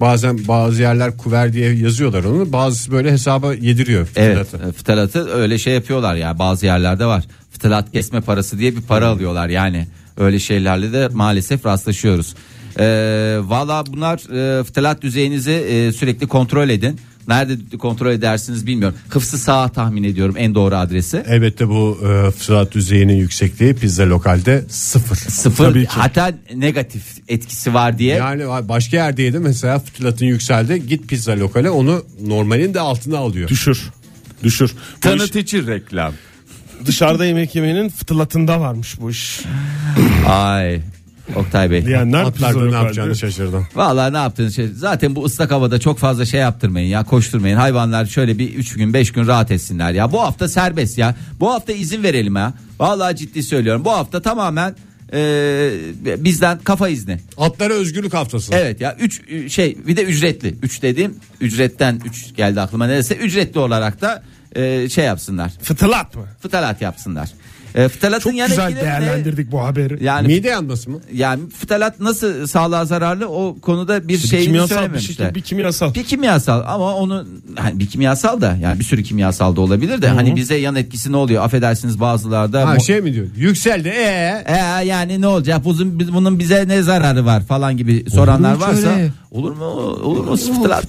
Speaker 2: bazen bazı yerler kuver diye yazıyorlar onu. Bazısı böyle hesaba yediriyor.
Speaker 3: Evet
Speaker 2: fıtratı.
Speaker 3: e, fıtılatı öyle şey yapıyorlar ya bazı yerlerde var. Fıtılat kesme parası diye bir para alıyorlar yani. Öyle şeylerle de maalesef rastlaşıyoruz. Ee, Valla bunlar e, fıtılat düzeyinizi e, sürekli kontrol edin. Nerede kontrol edersiniz bilmiyorum. Hıfzı sağ tahmin ediyorum en doğru adresi.
Speaker 2: Elbette bu e, fıtrat düzeyinin yüksekliği pizza lokalde sıfır.
Speaker 3: Sıfır hatta negatif etkisi var diye.
Speaker 2: Yani başka yerde yedim mesela fıtratın yükseldi git pizza lokale onu normalin de altına alıyor.
Speaker 4: Düşür. Düşür. Bu iş
Speaker 3: Tanıtıcı reklam.
Speaker 4: dışarıda yemek yemenin fıtlatında varmış bu iş.
Speaker 3: Ay Oktay Bey.
Speaker 4: Diyenler
Speaker 2: Atlar da
Speaker 4: psikolog
Speaker 2: ne yapacağını
Speaker 4: halde.
Speaker 2: şaşırdım.
Speaker 3: Vallahi ne yaptığınız şey zaten bu ıslak havada çok fazla şey yaptırmayın ya koşturmayın hayvanlar şöyle bir 3 gün 5 gün rahat etsinler ya bu hafta serbest ya bu hafta izin verelim ya vallahi ciddi söylüyorum bu hafta tamamen e, bizden kafa izni
Speaker 2: Atlara özgürlük haftası.
Speaker 3: evet ya 3 şey bir de ücretli 3 dediğim ücretten 3 geldi aklıma neresi ücretli olarak da e, şey yapsınlar
Speaker 4: Fıtlat mı?
Speaker 3: fıtalat yapsınlar e, fıtalatın
Speaker 4: Çok
Speaker 3: yan
Speaker 4: güzel
Speaker 3: etkileri ne?
Speaker 4: değerlendirdik bu haberi.
Speaker 3: yani
Speaker 2: Mide yanması mı?
Speaker 3: yani fıtalat nasıl sağlığa zararlı o konuda bir
Speaker 4: bir
Speaker 3: şey
Speaker 4: kimyasal bir
Speaker 3: söylememişler.
Speaker 4: şey. Bir
Speaker 3: [laughs]
Speaker 4: kimyasal.
Speaker 3: Bir kimyasal ama onu hani bir kimyasal da yani bir sürü kimyasal da olabilir de hani bize yan etkisi ne oluyor? Affedersiniz bazılarda.
Speaker 2: Ha
Speaker 3: mo-
Speaker 2: şey mi diyor? Yükseldi. Ee?
Speaker 3: Ee, yani ne olacak? Bunun, bunun bize ne zararı var falan gibi soranlar varsa olur mu? Olur mu? Sıfırlar.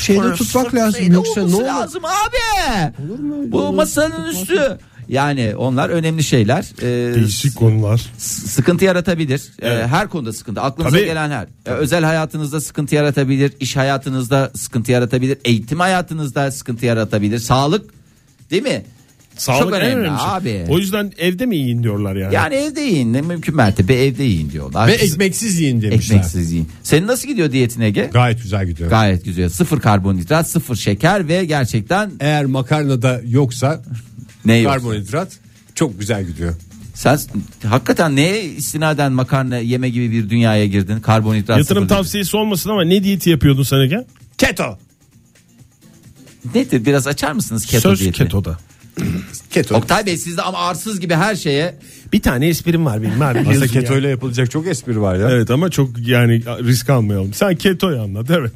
Speaker 2: şeyde tutmak lazım.
Speaker 3: Neydi?
Speaker 2: şey Yoksa ne
Speaker 3: Olması
Speaker 2: olur?
Speaker 3: lazım abi. Bu masanın üstü. Yani onlar önemli şeyler. Ee,
Speaker 4: Değişik konular.
Speaker 3: s- sıkıntı yaratabilir. Ee, her konuda sıkıntı. Aklınıza
Speaker 4: Tabii.
Speaker 3: gelen her. Ee, özel hayatınızda sıkıntı yaratabilir. iş hayatınızda sıkıntı yaratabilir. Eğitim hayatınızda sıkıntı yaratabilir. Sağlık değil mi?
Speaker 4: Sağlık
Speaker 3: Çok
Speaker 4: en
Speaker 3: önemli
Speaker 4: şey.
Speaker 3: abi.
Speaker 4: O yüzden evde mi yiyin diyorlar yani.
Speaker 3: Yani evde yiyin. Ne Mümkün mertebe evde yiyin diyorlar.
Speaker 2: Ve
Speaker 3: Biz-
Speaker 2: ekmeksiz yiyin demişler.
Speaker 3: ekmeksiz yiyin. Senin nasıl gidiyor diyetin Ege?
Speaker 2: Gayet güzel gidiyor.
Speaker 3: Gayet güzel. Sıfır karbonhidrat, sıfır şeker ve gerçekten
Speaker 2: Eğer makarnada yoksa
Speaker 3: ne yok?
Speaker 2: karbonhidrat çok güzel gidiyor.
Speaker 3: Sen hakikaten neye istinaden makarna yeme gibi bir dünyaya girdin? Karbonhidrat
Speaker 4: Yatırım
Speaker 3: sıfır dedin.
Speaker 4: tavsiyesi olmasın ama ne diyeti yapıyordun sen Ege?
Speaker 2: Keto.
Speaker 3: Nedir? Biraz açar mısınız keto
Speaker 4: Söz
Speaker 3: diyetini?
Speaker 4: ketoda.
Speaker 2: Keto.
Speaker 3: Oktay Bey sizde ama arsız gibi her şeye
Speaker 4: Bir tane esprim var benim abi.
Speaker 2: Aslında
Speaker 4: biliyorsun ya.
Speaker 2: keto ile yapılacak çok espri var ya.
Speaker 4: Evet ama çok yani risk almayalım. Sen ketoyu anlat evet.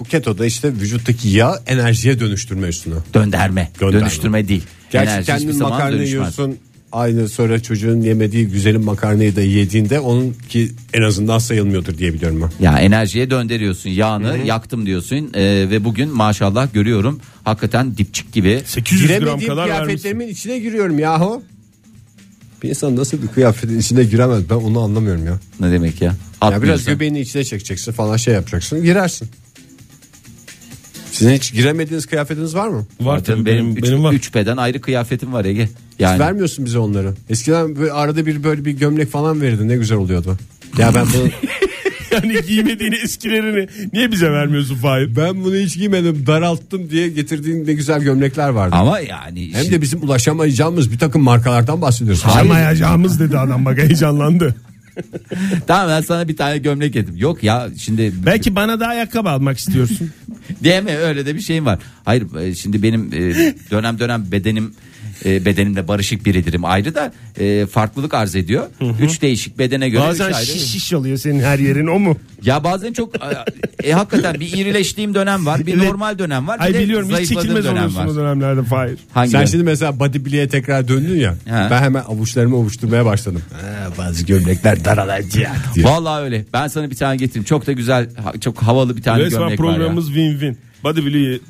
Speaker 2: Bu keto da işte vücuttaki yağ enerjiye dönüştürme üstüne.
Speaker 3: dönderme,
Speaker 2: Gönderme.
Speaker 3: dönüştürme değil.
Speaker 2: Gerçi
Speaker 3: Enerji hiçbir
Speaker 2: kendin
Speaker 3: zaman
Speaker 2: makarna
Speaker 3: dönüşmez.
Speaker 2: yiyorsun. Aynı sonra çocuğun yemediği güzelim makarnayı da yediğinde onun ki en azından sayılmıyordur diye biliyorum ben.
Speaker 3: Ya enerjiye döndürüyorsun. Yağını yaktım diyorsun Ee, ve bugün maşallah görüyorum hakikaten dipçik gibi.
Speaker 4: 800 gram
Speaker 2: Giremediğim
Speaker 4: kadar vermişsin.
Speaker 2: kıyafetlerimin içine giriyorum yahu. Bir insan nasıl bir kıyafetin içine giremez ben onu anlamıyorum ya.
Speaker 3: Ne demek ya?
Speaker 2: Ya
Speaker 3: Atmıyorsun.
Speaker 2: biraz göbeğini içine çekeceksin falan şey yapacaksın girersin. Sizin hiç giremediğiniz kıyafetiniz var mı?
Speaker 4: Var
Speaker 3: Zaten
Speaker 4: tabii
Speaker 3: benim,
Speaker 4: benim,
Speaker 3: üç,
Speaker 4: benim var.
Speaker 3: üç beden ayrı kıyafetim var Ege. Yani
Speaker 2: Hiç vermiyorsun bize onları. Eskiden böyle arada bir böyle bir gömlek falan verirdin ne güzel oluyordu. Ya ben bunu
Speaker 4: [laughs] Yani giymediğini eskilerini niye bize vermiyorsun Fahir?
Speaker 2: ben bunu hiç giymedim daralttım diye getirdiğin ne güzel gömlekler vardı.
Speaker 3: ama yani
Speaker 2: Hem de bizim ulaşamayacağımız bir takım markalardan bahsediyoruz.
Speaker 4: Yamayacağımız dedi adam bak heyecanlandı.
Speaker 3: tamam ben sana bir tane gömlek yedim. Yok ya şimdi
Speaker 4: Belki bana da ayakkabı almak istiyorsun.
Speaker 3: Değil mi? Öyle de bir şeyim var. Hayır e, şimdi benim e, dönem dönem bedenim e, bedenimle barışık biridirim ayrı da e, farklılık arz ediyor. Üç değişik bedene göre
Speaker 4: [laughs] Bazen
Speaker 3: üç ayrı.
Speaker 4: şiş şiş oluyor senin her yerin o mu?
Speaker 3: Ya bazen çok e, e, hakikaten bir irileştiğim dönem var. Bir
Speaker 4: Evet.
Speaker 3: normal dönem var. Bir
Speaker 4: Ay
Speaker 3: de
Speaker 4: biliyorum hiç
Speaker 3: zayıfladığım
Speaker 4: çekilmez
Speaker 3: dönem
Speaker 4: oluyorsun
Speaker 3: var.
Speaker 4: o dönemlerde Fahir.
Speaker 3: Hangi
Speaker 2: Sen
Speaker 3: dönem?
Speaker 2: şimdi mesela bodybuild'e tekrar döndün ya.
Speaker 3: He.
Speaker 2: Ben hemen avuçlarımı avuşturmaya başladım. bazı gömlekler daralacak diye.
Speaker 3: Vallahi öyle. Ben sana bir tane getireyim. Çok da güzel, ha- çok havalı bir tane
Speaker 4: Resmen
Speaker 3: gömlek var ya.
Speaker 4: programımız win-win. Bodybuild'i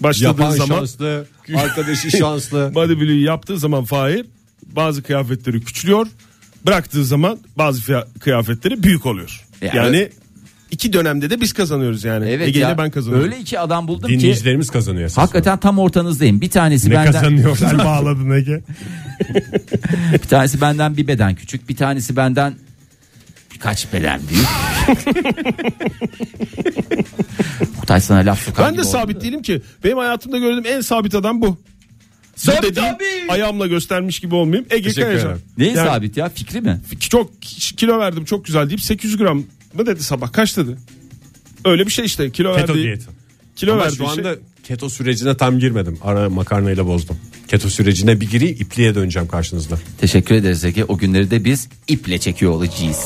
Speaker 4: başladığı
Speaker 2: Yapan
Speaker 4: zaman
Speaker 2: şanslı, arkadaşı şanslı.
Speaker 4: bodybuild'i yaptığı zaman Fahir bazı kıyafetleri küçülüyor. Bıraktığı zaman bazı fiya- kıyafetleri büyük oluyor.
Speaker 3: Ya,
Speaker 4: yani
Speaker 3: evet.
Speaker 4: iki dönemde de biz kazanıyoruz yani.
Speaker 3: Evet
Speaker 4: Ege'yle
Speaker 3: ya.
Speaker 4: ben kazanıyorum.
Speaker 3: Öyle iki adam buldum ki
Speaker 2: Dinleyicilerimiz kazanıyor. esasında.
Speaker 3: hakikaten tam ortanızdayım. Bir tanesi
Speaker 2: ne
Speaker 3: benden [laughs]
Speaker 2: kazanıyorlar?
Speaker 4: bağladın Ege.
Speaker 3: Bir tanesi benden bir beden küçük, bir tanesi benden kaç beden büyük. Oktay sana laf sokar
Speaker 4: Ben
Speaker 3: gibi
Speaker 4: de
Speaker 3: oldu.
Speaker 4: sabit değilim ki. Benim hayatımda gördüğüm en sabit adam bu.
Speaker 3: Sabit
Speaker 4: bu dediğim
Speaker 3: abi.
Speaker 4: ayağımla göstermiş gibi olmayayım. Ege
Speaker 2: Teşekkür
Speaker 4: Kayacan.
Speaker 2: ederim.
Speaker 3: Neyin
Speaker 4: Yani-
Speaker 3: sabit ya fikri mi?
Speaker 4: Çok kilo verdim çok güzel deyip 800 gram mı dedi sabah kaç dedi? Öyle bir şey işte kilo
Speaker 2: Keto
Speaker 4: verdi.
Speaker 2: diyeti.
Speaker 4: Kilo şey-
Speaker 2: Ama
Speaker 4: verdi
Speaker 2: şu anda keto sürecine tam girmedim. Ara makarnayla bozdum. Keto sürecine bir gireyim ipliğe döneceğim karşınızda.
Speaker 3: Teşekkür ederiz Ege. O günleri de biz iple çekiyor olacağız.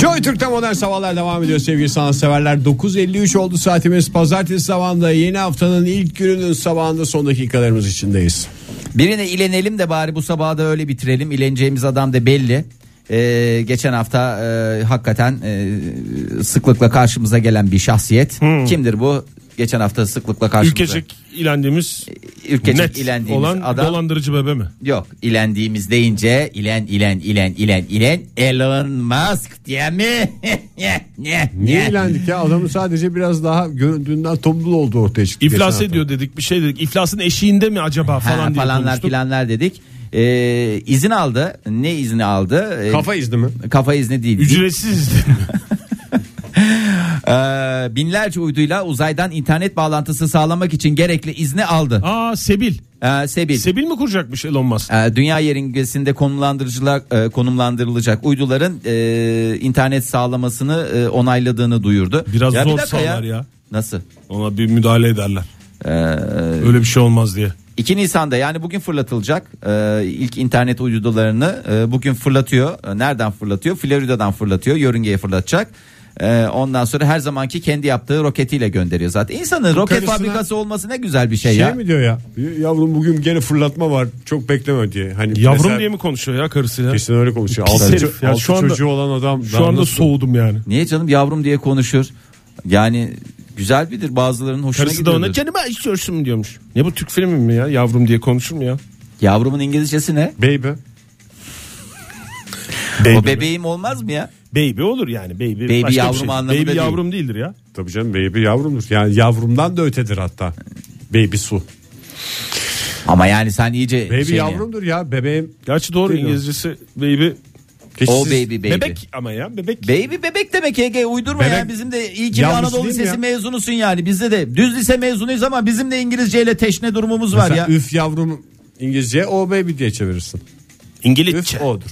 Speaker 2: Joy Türk'te modern sabahlar devam ediyor sevgili sanatseverler. 9.53 oldu saatimiz. Pazartesi sabahında yeni haftanın ilk gününün sabahında son dakikalarımız içindeyiz.
Speaker 3: Birine ilenelim de bari bu sabahı da öyle bitirelim. İleneceğimiz adam da belli. Ee, geçen hafta e, hakikaten e, sıklıkla karşımıza gelen bir şahsiyet.
Speaker 4: Hmm.
Speaker 3: Kimdir bu? Geçen hafta sıklıkla karşımıza.
Speaker 4: Ülkecek ilendiğimiz
Speaker 3: E, Ülkecek
Speaker 4: net
Speaker 3: ilendiğimiz
Speaker 4: olan
Speaker 3: adam.
Speaker 4: dolandırıcı bebe mi?
Speaker 3: Yok ilendiğimiz deyince ilen ilen ilen ilen ilen Elon Musk diye mi? [laughs]
Speaker 2: Niye ilendik ya? Adamın sadece biraz daha göründüğünden tombul olduğu ortaya çıktı.
Speaker 4: İflas
Speaker 2: geçen hafta.
Speaker 4: ediyor dedik bir şey dedik. İflasın eşiğinde mi acaba
Speaker 3: Ha,
Speaker 4: falan diye
Speaker 3: falanlar
Speaker 4: konuştuk.
Speaker 3: filanlar dedik. Ee, izin aldı. Ne izni aldı? Ee,
Speaker 2: Kafa izni mi?
Speaker 3: kafa izni değil.
Speaker 4: Ücretsiz dedi.
Speaker 3: Ee, binlerce uyduyla uzaydan internet bağlantısı sağlamak için gerekli izni aldı.
Speaker 4: [laughs] Aa Sebil.
Speaker 3: Ee, Sebil.
Speaker 4: Sebil mi kuracakmış Elon Musk?
Speaker 3: Ee, Dünya yörüngesinde konumlandırıcılar e, konumlandırılacak uyduların e, internet sağlamasını e, onayladığını duyurdu.
Speaker 4: Biraz
Speaker 3: bir
Speaker 4: zor
Speaker 3: dakika
Speaker 4: sağlar ya.
Speaker 3: Nasıl?
Speaker 4: Ona bir müdahale ederler.
Speaker 3: Ee,
Speaker 4: Öyle bir şey olmaz diye.
Speaker 3: 2 Nisan'da yani bugün fırlatılacak e, ilk internet uydularını e, bugün fırlatıyor. E, Nereden fırlatıyor? Florida'dan fırlatıyor. Yörüngeye fırlatacak. E, ondan sonra her zamanki kendi yaptığı roketiyle gönderiyor zaten. İnsanın roket
Speaker 2: karısına-
Speaker 3: fabrikası olması ne güzel bir şey,
Speaker 2: Şey
Speaker 3: ya.
Speaker 2: mi diyor ya? Yavrum bugün gene fırlatma var. Çok bekleme diye. Hani
Speaker 4: Yavrum
Speaker 2: mesela-
Speaker 4: diye mi konuşuyor ya karısıyla?
Speaker 2: Kesin öyle konuşuyor. Altı,
Speaker 4: herif
Speaker 2: ço-
Speaker 4: ya.
Speaker 2: altı
Speaker 4: Şu anda-
Speaker 2: çocuğu olan adam.
Speaker 4: Şu anda soğudum yani.
Speaker 3: Niye canım yavrum diye konuşur. Yani güzel birdir bazılarının hoşuna
Speaker 4: Karısı da ona
Speaker 3: gidiyordur.
Speaker 4: kendime istiyorsun diyormuş. Ne bu Türk filmi mi ya? Yavrum diye konuşur mu ya?
Speaker 3: Yavrumun İngilizcesi ne?
Speaker 2: Baby.
Speaker 3: o bebeğim olmaz mı ya?
Speaker 4: Baby olur yani. Baby,
Speaker 3: Baby
Speaker 4: başka bir
Speaker 3: yavrum
Speaker 4: şey.
Speaker 3: anlamında
Speaker 4: Baby
Speaker 3: değil.
Speaker 4: yavrum değildir ya.
Speaker 2: Tabii canım baby yavrumdur. Yani yavrumdan da ötedir hatta. Baby su.
Speaker 3: Ama yani sen iyice
Speaker 4: Şey
Speaker 3: şey
Speaker 2: Baby
Speaker 3: şeyini-
Speaker 2: yavrumdur ya bebeğim.
Speaker 4: Gerçi doğru
Speaker 2: Değil mi?
Speaker 4: İngilizcesi baby.
Speaker 2: Hiç
Speaker 3: O
Speaker 2: siz-
Speaker 3: baby baby.
Speaker 4: Bebek ama ya bebek.
Speaker 3: Baby bebek demek Ege uydurma
Speaker 2: Bebek-
Speaker 3: ya bizim de iyi ki bir
Speaker 2: Yavrusu
Speaker 3: Anadolu
Speaker 2: değil mi
Speaker 3: Lisesi
Speaker 2: ya?
Speaker 3: mezunusun yani bizde de düz lise mezunuyuz ama bizim de İngilizce ile teşne durumumuz var
Speaker 2: Mesela
Speaker 3: ya.
Speaker 2: üf yavrum İngilizce o baby diye çevirirsin.
Speaker 4: İngilizce.
Speaker 2: Üf odur.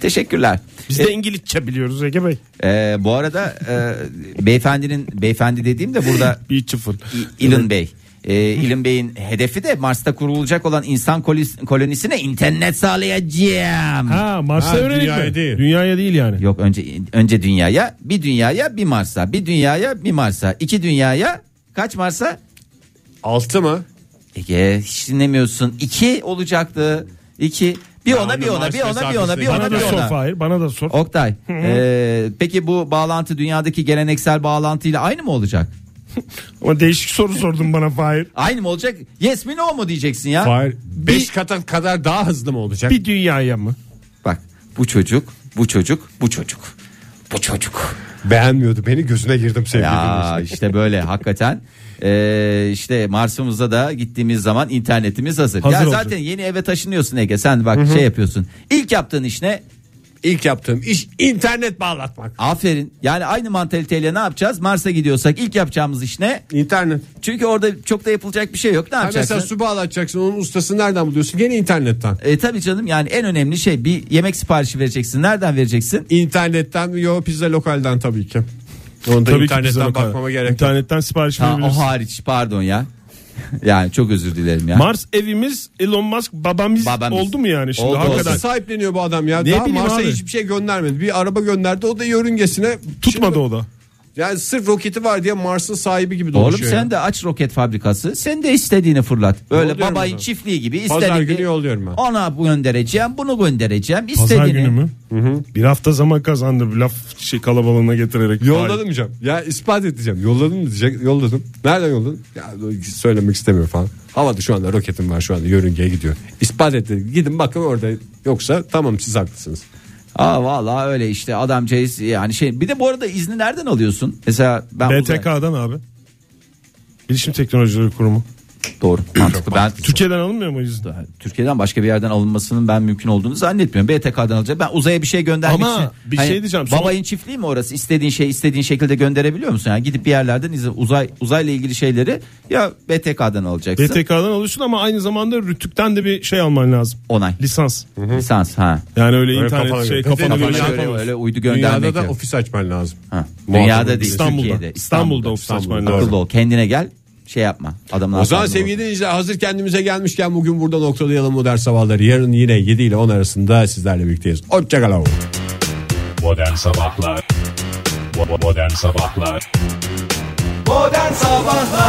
Speaker 3: Teşekkürler.
Speaker 4: Biz de İngilizce biliyoruz Ege Bey.
Speaker 3: Ee, bu arada e, beyefendinin beyefendi dediğim de burada
Speaker 4: Bir çıfır.
Speaker 3: İlin Bey. Ee, İlin Bey'in hedefi de Mars'ta kurulacak olan insan kolis- kolonisine internet sağlayacağım.
Speaker 4: Ha Mars'a
Speaker 2: Ha,
Speaker 4: yönelik
Speaker 2: dünyaya
Speaker 4: mi?
Speaker 2: değil.
Speaker 4: Dünyaya değil yani.
Speaker 3: Yok önce önce dünyaya, bir dünyaya, bir Mars'a, bir dünyaya, bir Mars'a, iki dünyaya, kaç Mars'a?
Speaker 2: Altı mı?
Speaker 3: Ege hiç dinlemiyorsun. İki olacaktı. İki. Bir ona, bir ona,
Speaker 2: Mars
Speaker 3: bir ona, bir ona, bir
Speaker 2: mesafesi.
Speaker 3: ona,
Speaker 4: Bana
Speaker 3: bir
Speaker 4: da sor
Speaker 3: ona.
Speaker 4: Fahir bana da sor.
Speaker 3: Oktay, ee, peki bu bağlantı dünyadaki geleneksel bağlantıyla aynı mı olacak?
Speaker 4: Ama değişik soru sordun bana Fahir.
Speaker 3: Aynı mı olacak? Yes mi no mu diyeceksin ya?
Speaker 2: Hayır. Beş kata kadar daha hızlı mı olacak?
Speaker 4: Bir dünyaya mı?
Speaker 3: Bak bu çocuk, bu çocuk, bu çocuk. Bu çocuk.
Speaker 2: Beğenmiyordu beni gözüne girdim sevgili
Speaker 3: Ya
Speaker 2: dinleyiciler.
Speaker 3: işte böyle hakikaten. Ee, işte Mars'ımıza da gittiğimiz zaman internetimiz hazır.
Speaker 4: Hazır
Speaker 3: ya
Speaker 4: olacak.
Speaker 3: zaten yeni eve taşınıyorsun Ege. Sen bak şey yapıyorsun. İlk yaptığın iş ne?
Speaker 2: İlk yaptığım iş internet bağlatmak.
Speaker 3: Aferin. Yani aynı mantaliteyle ne yapacağız? Mars'a gidiyorsak ilk yapacağımız iş ne?
Speaker 2: İnternet. Ha
Speaker 3: Çünkü orada çok da yapılacak bir şey yok. Ne yapacaksın?
Speaker 2: mesela su bağlatacaksın onun ustasını nereden buluyorsun? Gene internetten.
Speaker 3: E, tabii canım yani en önemli şey bir yemek siparişi vereceksin. Nereden vereceksin?
Speaker 2: İnternetten yo pizza lokalden tabii ki. Onu da
Speaker 4: Tabii ki bize
Speaker 2: internetten
Speaker 4: bakar.
Speaker 2: bakmama gerek yok.
Speaker 4: İnternetten sipariş
Speaker 3: Ha, o
Speaker 4: verebilirsin.
Speaker 3: hariç pardon ya. [laughs] yani çok özür dilerim ya.
Speaker 4: Mars evimiz Elon Musk babamız,
Speaker 3: Babamız.
Speaker 4: oldu mu yani şimdi
Speaker 3: Oldu,
Speaker 4: hakikaten?
Speaker 2: Nasıl sahipleniyor bu adam ya?
Speaker 4: Ne
Speaker 2: Daha
Speaker 4: bileyim
Speaker 2: Mars'a
Speaker 4: abi.
Speaker 2: hiçbir şey göndermedi. Bir araba gönderdi o da yörüngesine.
Speaker 4: Tutmadı
Speaker 2: Şimdi-
Speaker 4: o da.
Speaker 2: Yani sırf roketi var diye Mars'ın sahibi gibi dolaşıyor.
Speaker 3: Oğlum sen
Speaker 2: ya.
Speaker 3: de aç roket fabrikası. Sen de istediğini fırlat. Öyle
Speaker 2: Yolluyorum
Speaker 3: babayın
Speaker 2: ben.
Speaker 3: çiftliği gibi
Speaker 2: Pazar
Speaker 3: istediğini.
Speaker 2: günü yolluyorum ben.
Speaker 3: Ona bu göndereceğim, bunu göndereceğim. istediğini.
Speaker 4: Pazar günü mü? Bir hafta zaman kazandı bir laf şey kalabalığına getirerek.
Speaker 2: Yolladım diyeceğim. Ya ispat edeceğim. Yolladım mı diyecek. Yolladım. Nereden yolladın? Ya söylemek istemiyor falan. Havada şu anda roketim var şu anda yörüngeye gidiyor. İspat etti. Gidin bakın orada. Yoksa tamam siz haklısınız.
Speaker 3: Aa vallahi öyle işte adamcağız yani şey. Bir de bu arada izni nereden alıyorsun? Mesela ben
Speaker 4: Hayır. BTK'dan abi. Bilişim Teknolojileri Kurumu.
Speaker 3: Doğru. Mantıklı. ben
Speaker 4: Türkiye'den alınmıyor mu o yüzden?
Speaker 3: Türkiye'den başka bir yerden alınmasının ben mümkün olduğunu zannetmiyorum. BTK'dan alacak. Ben uzaya bir şey göndermek
Speaker 4: Ama
Speaker 3: için. Hani
Speaker 4: bir şey diyeceğim. Son-
Speaker 3: Babayın çiftliği mi orası? İstediğin şey istediğin şekilde gönderebiliyor musun? Yani gidip bir yerlerden izle, uzay uzayla ilgili şeyleri ya BTK'dan alacaksın.
Speaker 4: BTK'dan alıyorsun ama aynı zamanda Rütük'ten de bir şey alman lazım.
Speaker 3: Onay.
Speaker 4: Lisans.
Speaker 3: Lisans ha.
Speaker 4: Yani öyle,
Speaker 2: Öyle
Speaker 4: internet
Speaker 2: kafana göre.
Speaker 4: şey kafana
Speaker 2: Kafana
Speaker 4: göre
Speaker 3: Öyle,
Speaker 4: şey
Speaker 2: göre.
Speaker 4: yapamazsın.
Speaker 3: öyle uydu göndermek.
Speaker 2: Dünyada da
Speaker 3: yok.
Speaker 2: ofis açman lazım.
Speaker 3: Ha.
Speaker 2: Muazzam
Speaker 3: Dünyada
Speaker 2: bir
Speaker 3: değil
Speaker 4: İstanbul'da.
Speaker 3: Türkiye'de.
Speaker 4: İstanbul'da ofis
Speaker 3: İstanbul'da.
Speaker 4: açman lazım.
Speaker 3: Akıllı ol. Kendine gel. Şey yapma. Adamlar
Speaker 2: O zaman
Speaker 3: akıllı ol.
Speaker 2: sevgili dinleyiciler hazır kendimize gelmişken bugün burada noktalayalım modern sabahları. Yarın yine 7 ile 10 arasında sizlerle birlikteyiz. Hoşçakalın.
Speaker 7: Modern Sabahlar Bo- Modern Sabahlar
Speaker 3: Modern Sabahlar